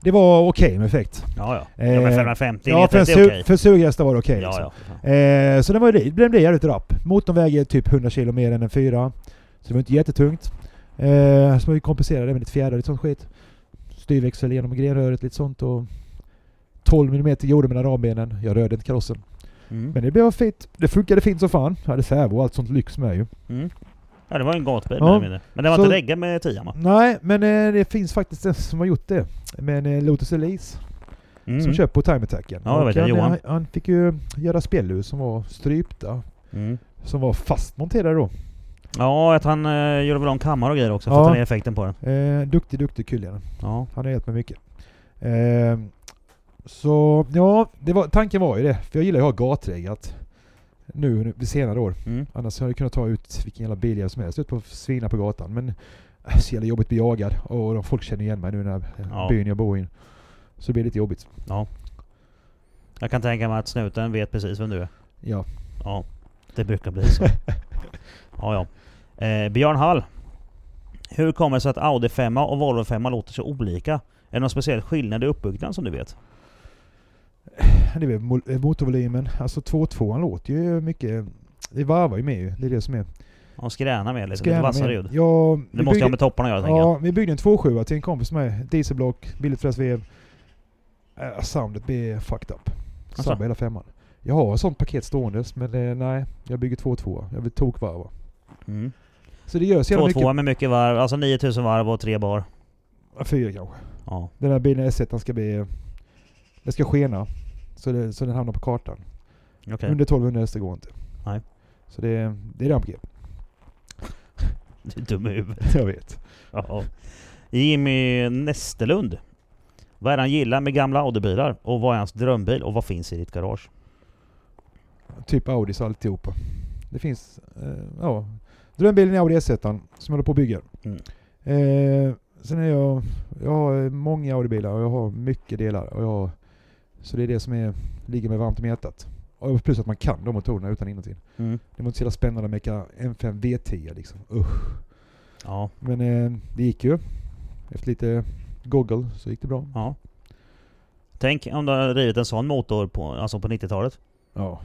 Det var okej med effekt.
Ja, ja.
Eh,
ja men 550
Ja,
liter,
för, en
det E är
su-
okej.
för sughästar var det okej. liksom.
Ja, ja.
Eh, så den var ju, det blev jävligt rapp. Motorn väger typ 100 kilo mer än en fyra. Så det var inte jättetungt. Eh, så man ju kompenserade det med lite fjädrar och lite sånt skit. Styrväxel genom grenröret lite sånt och 12 mm gjorde mellan rambenen. Jag rörde inte karossen.
Mm.
Men det blev fint. Det funkade fint som fan. Jag hade servo och allt sånt lyx med ju.
Mm. Ja, det var ju en gatbil
Ja.
mer eller mindre. Men den var
Så-
inte reggad med 10 va?
Nej, men eh, det finns faktiskt en som har gjort det. Men eh, Lotus Elise
Mm.
som köper på Time Attacken.
Ja, jag
Och
vet det,
han,
Johan.
eh, han fick ju göra spjällhus som var strypta.
Mm.
Som var fastmonterade då.
Ja, att han eh, gjorde väl om kammar och grejer också för
Ja.
att ta ner effekten på den.
Eh, duktig, duktig kulle.
Ja.
Han har hjälpt mig mycket. Ehm, så ja, det var, tanken var ju det. För jag gillar ju att ha gatreggat. Nu, nu vid senare år.
Mm.
Annars hade jag kunnat ta ut vilken jävla bil jag som helst ut på svina på gatan. Men äh, så jävla jobbigt att bli jagad. Och de- folk känner igen mig nu när äh,
Ja.
byn jag bor i. Så det blir lite jobbigt.
Jag kan tänka mig att snuten vet precis vem du är.
Ja.
Ja, det brukar bli
*laughs*
så. ja, ja. Eh, Björn Hall. Hur kommer det sig att Audi 5 och Volvo 5 låter så olika? Är det någon speciell skillnad i uppbyggnaden som du vet?
Äh, Det är väl mo- motorvolymen. Alltså 2.2 låter ju mycket. Det varvar ju med ju. Det är det som är.
De skränar med lite,
Ska
lite
gärna
vassare
med.
ljud.
Ja, vi
Det måste ju
byggde-
ha med topparna att göra tänker jag.
Ja, vi byggde en 2.7 till en kompis med dieselblock, billigt fräsvev. Uh, soundet blev fucked up. Sabba
Asså?
hela femman. Jag har ett sånt paket ståendes men eh, nej, jag bygger 2.2. Jag vill tokvarva.
Mm.
Så det gör så jävla
2-2
mycket.
med mycket varv, alltså 9000 varv och 3 bar.
Ja, Fyra kanske.
Ja. *laughs*
Den här bilen S1 den ska bli... Den ska skena. Så, det, så den hamnar på kartan.
Okej.
Under 1200 hästar går inte.
Nej.
Så det, det är rampgrepp.
Du är dum i huvudet.
jag vet.
Ja. Jimmy Nästelund. Vad är det han gillar med gamla Audi-bilar? Och vad är hans drömbil? Och vad finns i ditt garage?
Typ Audis och alltihopa. Det finns, eh, ja. Drömbilen är Audi S1 som jag håller på och bygger.
Mm.
Eh, sen är jag, jag har många Audi-bilar och jag har mycket delar. Och jag, har- så det är det som är, ligger mig varmt om hjärtat. Och plus att man kan de motorerna utan innantill.
Mm.
Det var inte så jävla spännande att meka M5 V10 liksom. Usch.
Ja.
Men eh, det gick ju. Efter lite goggle så gick det bra.
Ja. Tänk om du hade rivit en sån motor på, alltså på 90-talet.
Ja.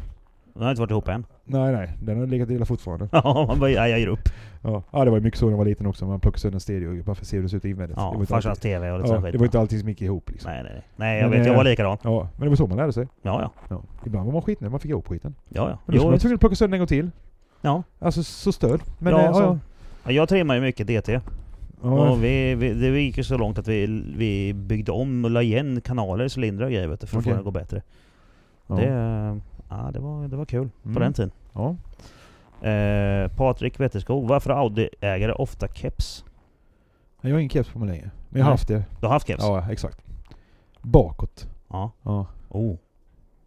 Den har inte varit ihop än. *laughs*
Nej nej, den har legat illa fortfarande.
Ja, man bara, nej, jag ger upp.
Ja. ja, det var ju mycket så när jag var liten också. Man plockade sönder en stereo bara för att se hur det ser ut invändigt. det var
Ja,
inte
farsans
alltid-
TV och lite
ja,
sån skit.
det var inte allting som gick ihop liksom.
Nej, nej, nej. Nej, jag
Men,
vet. Jag
eh,
var likadan.
Ja, men det var så man lärde sig.
Ja, ja.
Ja. Ibland var man skitnödig när man fick ihop skiten.
Ja, ja.
Men då var
Jo,
man tvungen att plocka sönder en gång till.
ja.
Alltså så stöd. Men
Ja,
eh,
så.
ja,
Ja, Jag trimmar ju mycket DT.
ja.
Och vi, vi, det gick ju så långt att vi, vi byggde om och la igen kanaler, cylindrar och grejer vet du, för att
Okej.
få den att gå bättre.
ja.
Det, eh, ja, det, var, det var kul
Mm.
på den tiden.
ja.
Eh, Patrik Wetterskog, varför har Audi-ägare ofta keps?
Jag har ingen keps på mig längre. Men jag
Nej.
har haft det.
Du har haft keps?
Ja, exakt. Bakåt.
Ja.
Ja.
Oh.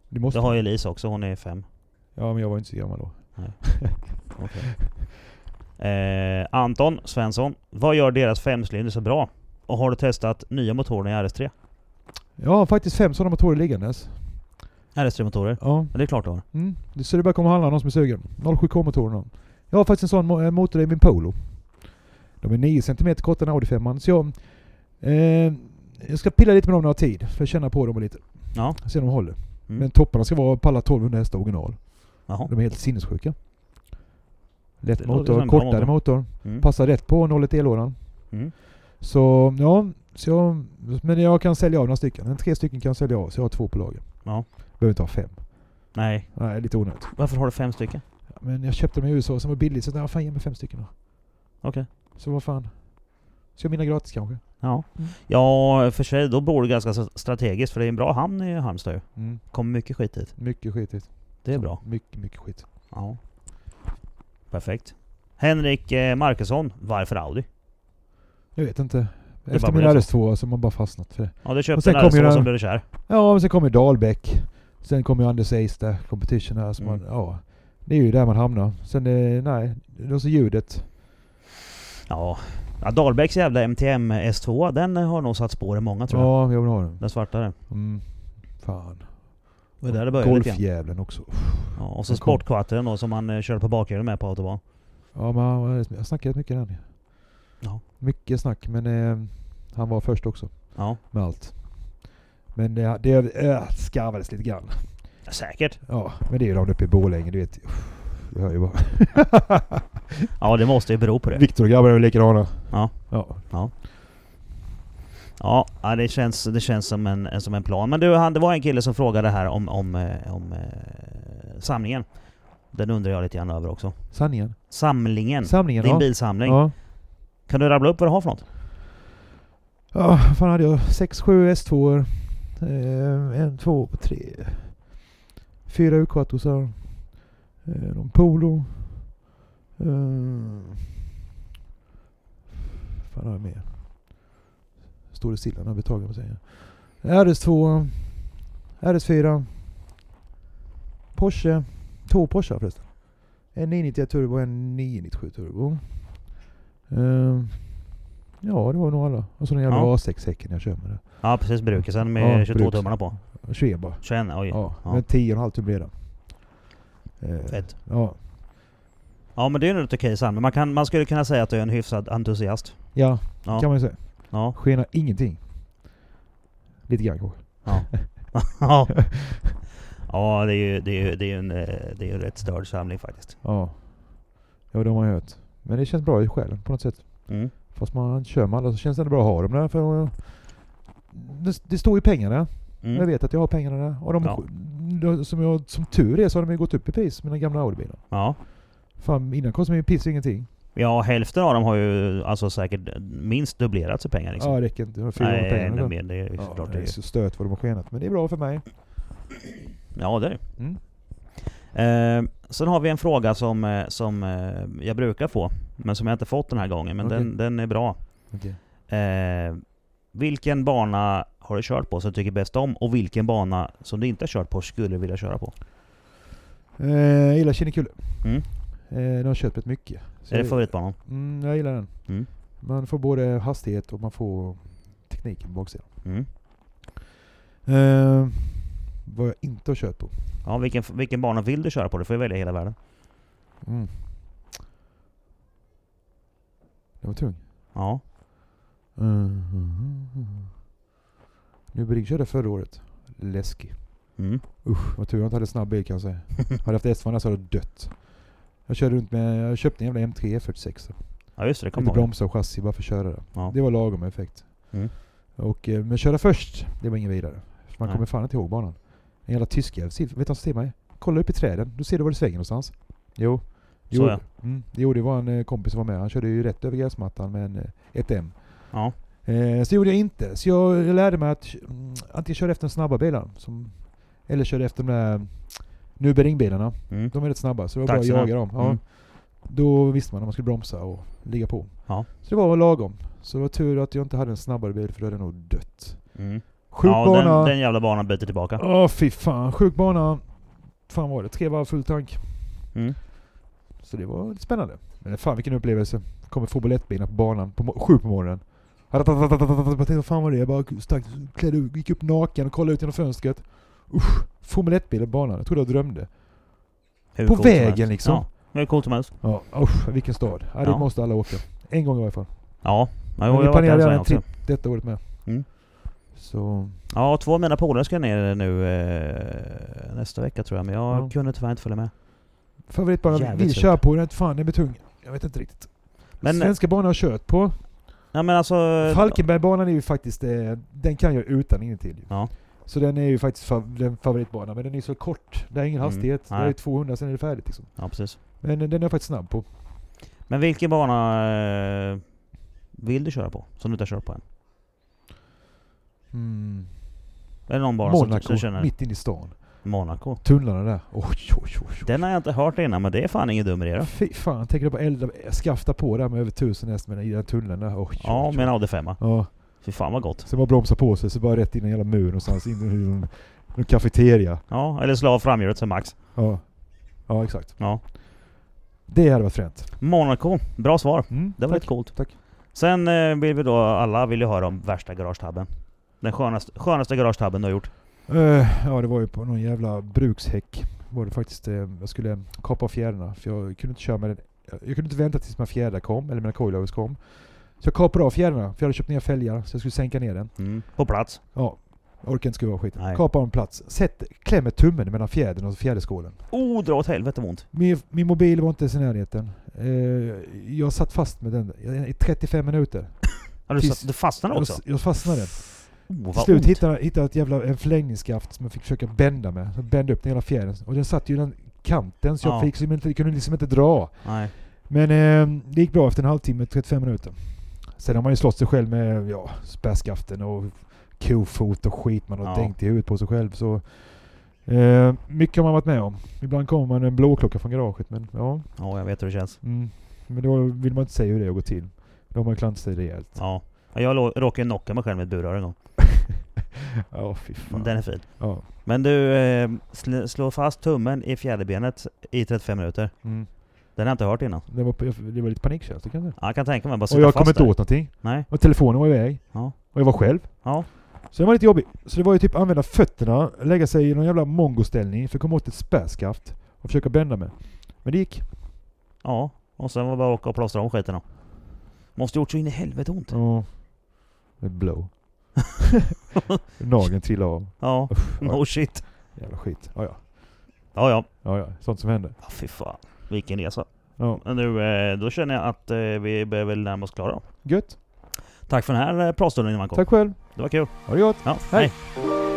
Det måste
Det har ju Elise också, hon är fem.
Ja, men jag var inte så gammal då.
Eh, Anton Svensson, vad gör deras femcylindrar så bra? Och har du testat nya motorerna i RS3?
Jag har faktiskt fem sådana motorer liggandes.
RS3-motorer?
Ja.
Ja, det är klart du har.
Mm. Det- Så det bara kommer handla om någon som är sugen. 07K-motorerna. Jag har faktiskt en sån mo- eh, motor i min Polo. De är 9 cm kortare än Audi 5 så jag, eh, jag ska pilla lite med dem när jag har tid. För att känna på dem lite.
Ja.
Se om de håller.
Mm.
Men topparna ska vara på alla 1200 hästar original.
Jaha.
De är helt sinnessjuka. Lätt
Det låter som
motor,
en bra
kortare motor.
Mm.
Passar rätt på 01 elådan.
Mm.
Så ja, så jag, men jag kan sälja av några stycken. En tre stycken kan jag sälja av så jag har två på lager.
Ja.
Behöver inte ha fem.
Nej,
Nej, lite onödigt.
varför har du fem stycken?
Men jag köpte dem i USA som var billigt så jag tänkte, "Ja, fan ge mig fem stycken då.
Okej.
Så vad fan. Så jag mina gratis kanske.
Ja.
Mm.
ja, för sig då bor du ganska så strategiskt för det är en bra hamn i Halmstad ju.
Mm.
Kommer mycket skit hit.
Mycket skit hit.
Det är bra.
Mycket, mycket skit.
Ja. Perfekt. Henrik eh, Markusson, varför Audi?
Jag vet inte.
är bara
Efter min
blir så.
RS2 så har man bara fastnat för det.
Ja, du
Och
köpte
sen
en
kom
RS2
ju den-
som blev du kär.
Ja, men sen kommer Dahlbäck. Sen kommer ju Anders Ace där, competition här. Så man,
Mm.
ja, det är ju där man hamnar. Sen eh, nej, det är så ljudet.
Ja. ja Dahlbäcks jävla MTM S2, den har nog satt spår i många tror jag.
Ja, jag vill ha den.
Den svartare.
Mm. Fan.
Det var där det började lite grann.
Golfjävlen också.
Ja, och så
Den kom.
sportkvarteren då som man eh, körde på bakhjulen med på autobahn.
Ja, men han var- jag snackade rätt mycket den.
Ja.
Mycket snack, men eh, han var först också
Ja,
med allt. Men det, det eh, skarvades lite grann.
säkert.
Ja, men det är ju de uppe i Borlänge, du vet. Jag hör ju bara. *laughs*
Ja, det måste ju bero på det.
Viktor och grabbarna är väl likadana.
Ja.
ja.
Ja, ja, det känns, det känns som, en, en- som en plan. Men du, han, det var en kille som frågade här om, om, eh, om eh, samlingen. Den undrar jag lite grann över också.
Sanningen.
Samlingen.
Samlingen,
Din
ja.
bilsamling.
Ja.
Kan du rabbla upp vad du har för något?
Ja, vad fan hade jag? 6, 7 s 2 eh, En, två, tre. Fyra u eh, Någon Polo. Eh, fan har jag mer? Står det stilla när vi tagen på säger. RS2. RS4. Porsche. Två Porsche förresten. En 991 turbo och en 997 turbo. Eh, ja, det var nog alla. Och så den jävla
Ja.
A6-häcken jag kör med. det.
Ja, precis. Brukesen med
Ja,
22
bruksen.
tummarna på.
Schweba.
21, oj.
Ja,
Ja.
men 10,5 tum blir det. Eh,
Fett.
ja.
Ja, men det är ju en rätt okej samling. Man, kan, man skulle kunna säga att du är en hyfsad entusiast.
ja,
Ja.
kan man ju säga.
Ja.
Skena ingenting. Lite grann kanske.
*laughs* ja. ja, det är ju det är, ju- det är ju en, eh, det är ju en rätt störd samling faktiskt.
Ja. ja, det har man ju hört. Men det känns bra i själen på något sätt.
Mm.
Fast man kör med alla så känns det ändå bra att ha dem där. För eh, det, det står ju pengar där. Jag
Mm.
vet att jag har pengarna där. Och de,
Ja.
de- som, jag, som tur är så har de ju gått upp i pris, mina gamla Audi-bilar.
Ja.
Fan, innan kostade min piss ingenting.
ja, hälften av dem har ju alltså säkert minst dubblerats i pengar. Liksom.
Ja, det räcker inte. Jag har 400
Nej,
pengar.
ännu mer.
ungefär.
Det är ju
Ja,
såklart.
det är så stört vad de har skenat. Men det är bra för mig.
Ja, det är det.
Mm.
Eh, sen har vi en fråga som, eh, som eh, jag brukar få, men som jag inte fått den här gången. Men
Okej.
den, den är bra.
Okej.
Eh, vilken bana har du kört på som du tycker bäst om? Och vilken bana som du inte har kört på skulle du vilja köra på?
Eh, jag gillar Kinnekulle.
Mm.
Eh, den har kört rätt mycket. Så
är det favoritbanan?
Mm, jag gillar den.
Mm.
Man får både hastighet och man får tekniken på baksidan.
Mm.
Eh, vad jag inte har kört på.
Ja, vilken, vilken bana vill du köra på? Du får ju välja hela världen.
Mm. Den var tung.
Ja.
Mm. Nybring körde jag förra året. Läskig.
Mm.
Usch, vad tur jag inte hade snabb bil kan
*laughs*
jag säga. hade jag haft S2 där så hade jag dött. Jag körde runt med, jag köpte en jävla M3 46.
ja, just det. Det kommer
Lite
jag ihåg.
bromsa och chassi bara för att köra det.
Ja.
Det var lagom effekt.
Mm.
Och, eh, men köra först, det var ingen vidare. För Man
Nej.
kommer fan inte ihåg banan. En jävla tyskjävel, se- vet du vad han sa till mig? Kolla upp i träden, då ser du var det svänger någonstans. Jo. Jo,
ja.
mm, jo, det var en eh, kompis som var med. Han körde ju rätt över gräsmattan med en, eh, ett M.
Ja.
Eh, så gjorde jag inte. Så jag lärde mig att mm, antingen köra efter de snabba bilarna. Som, eller köra efter de där Nubering-bilarna.
Mm.
De är rätt snabba, så det var bara att
Taxarna.
jaga dem. Ja.
Mm.
Då visste man när man skulle bromsa och ligga på.
Ja.
Så det var lagom. Så det var tur att jag inte hade en snabbare bil, för då hade jag nog dött.
Mm.
Sjuk
ja
bana.
den, den jävla banan byter tillbaka.
Åh fy fan, sjuk bana. Fan var det, tre varv full tank.
Mm.
Så det var lite spännande. Men fan vilken upplevelse. Kommer fotboll 1-bilarna på banan på mo- sju på morgonen. Jag tänkte, vad fan var det? Jag bara stack, klädde, ut- gick upp naken och kollade ut genom fönstret. Usch, Formel 1-bil på banan. Jag trodde jag drömde.
Hur
På
coolt som
vägen
helst.
liksom.
Ja, hur coolt som helst.
Ja, usch, vilken stad. Ja, det
Ja.
måste alla åka. En gång i varje fall.
Ja. ja
Men
jo,
vi
jag har varit där
planerar
en sväng
en
också.
tripp detta året med.
Mm.
Så,
Ja, två av mina polare ska ner nu eh, nästa vecka tror jag, men jag
Ja.
kunde tyvärr inte följa med.
favoritbanan
Jävligt
vi
surt.
kör på, den fan den blir tung. Jag vet inte riktigt.
Men, eh,
Svenska banan har jag kört på.
ja, men alltså...
Falkenbergbanan är ju faktiskt, eh, den kan jag utan ingenting. ju.
Ja.
Så den är ju faktiskt fa- den favoritbanan, men den är så kort. Det är ingen
Mm,
hastighet. Det är
nej.
200, sen är det färdigt liksom.
Ja, precis.
Men eh, den är jag faktiskt snabb på.
Men vilken bana eh, vill du köra på? Som du inte har kört på än?
Mm.
Är det någon bana som, som
Monaco,
du känner?
mitt inne i stan.
Monaco.
Tunnlarna där. Oj, oj, oj. oj.
Den har jag inte hört innan, men det är fan ingen dum idé då.
Fy fan, tänker du på elda, skafta på där med över 1000 häst med den i den tunneln där. Oj, oj,
Ja,
oj.
med en Audi 5
Ja,
Fy fan vad gott.
sen bara bromsa på sig, så bara rätt in i en jävla mur någonstans. In i en En kafeteria.
Ja, eller slå av framhjulet som max.
Ja. ja, exakt.
Ja.
Det hade varit fränt.
Monaco, bra svar.
Mm,
Det var
tack.
lite coolt.
Tack.
Sen eh, vill vi då, alla vill ju höra om värsta garagetabben. Den skönaste, skönaste garagetabben du har gjort.
Eh, ja, det var ju på någon jävla brukshäck. Var det faktiskt, eh, jag skulle kapa av fjädrarna för jag kunde inte köra med den. Jag kunde inte vänta tills mina fjädrar kom, eller mina coilovers kom. Så jag kapade av fjädrarna, för jag hade köpt nya fälgar så jag skulle sänka ner den.
Mm. På plats.
Ja, jag orkar inte skruva av skiten.
Nej.
Kapar av en plats. Sätt, klämmer tummen mellan fjädern och fjäderskålen.
Oh, dra åt helvete vad ont.
Min, min mobil var inte ens i närheten. Eh, jag satt fast med den i 35 minuter.
Ja, du,
Tills-
satt- du fastnade
Jag,
också?
jag fastnade.
Oh,
Till
vad
slut
ont.
hittade jag hittade jag ett jävla, en förlängningsskaft som jag fick försöka bända med. Så bände upp den hela fjädern. Och den satt ju i den kanten så jag
Ja.
fick liksom inte, kunde liksom inte dra.
Nej.
Men eh, det gick bra efter en halvtimme, 35 minuter. Sen har man ju slått sig själv med ja, spärrskaften och kofot och skit man har
Ja.
dängt i huvudet på sig själv. Så, eh, mycket har man varit med om. Ibland kommer man med en blåklocka från garaget. Men, ja,
Ja, jag vet hur det känns.
mm, men då vill man inte säga hur det går till. Då har man klantat sig rejält.
Ja. Ja, Jag lå- råkade ju knocka mig själv med ett burrör en gång.
Ja, fy fan.
Den är fin.
Ja.
Men du, eh, sl- slå fast tummen i fjäderbenet i 35 minuter.
Mm.
Den har jag inte hört innan.
Det, var, det var lite panikkänsla kanske.
Ja, jag kan tänka mig bara
Och
sitta
jag
Alltså, fast
kom inte
där.
åt någonting.
Nej.
Och telefonen var iväg.
Ja.
Och jag var själv.
Ja.
Så det var lite jobbigt. Så det var ju typ använda fötterna, lägga sig i någon jävla mongoställning för att komma åt ett spärrskaft och försöka bända mig. Men det gick.
Ja. Och sen var det bara att åka och plåstra om skiten då. Måste gjort så in i helvete ont.
Ja.
*laughs*
Ett blow. Nageln trillade av.
Ja.
Usch,
*laughs*
ja,
No shit.
jävla skit. Ja, ja.
Ja, ja.
ja, ja. Sånt som hände.
ja fy fan. Vilken resa.
Ja.
Men nu, eh, då känner jag att eh, vi börjar väl närma oss klara.
Gött.
Tack för den här eh, pratstunden Marko.
Tack själv.
Det var kul.
Ha det gott.
Ja,
Hej.
hej.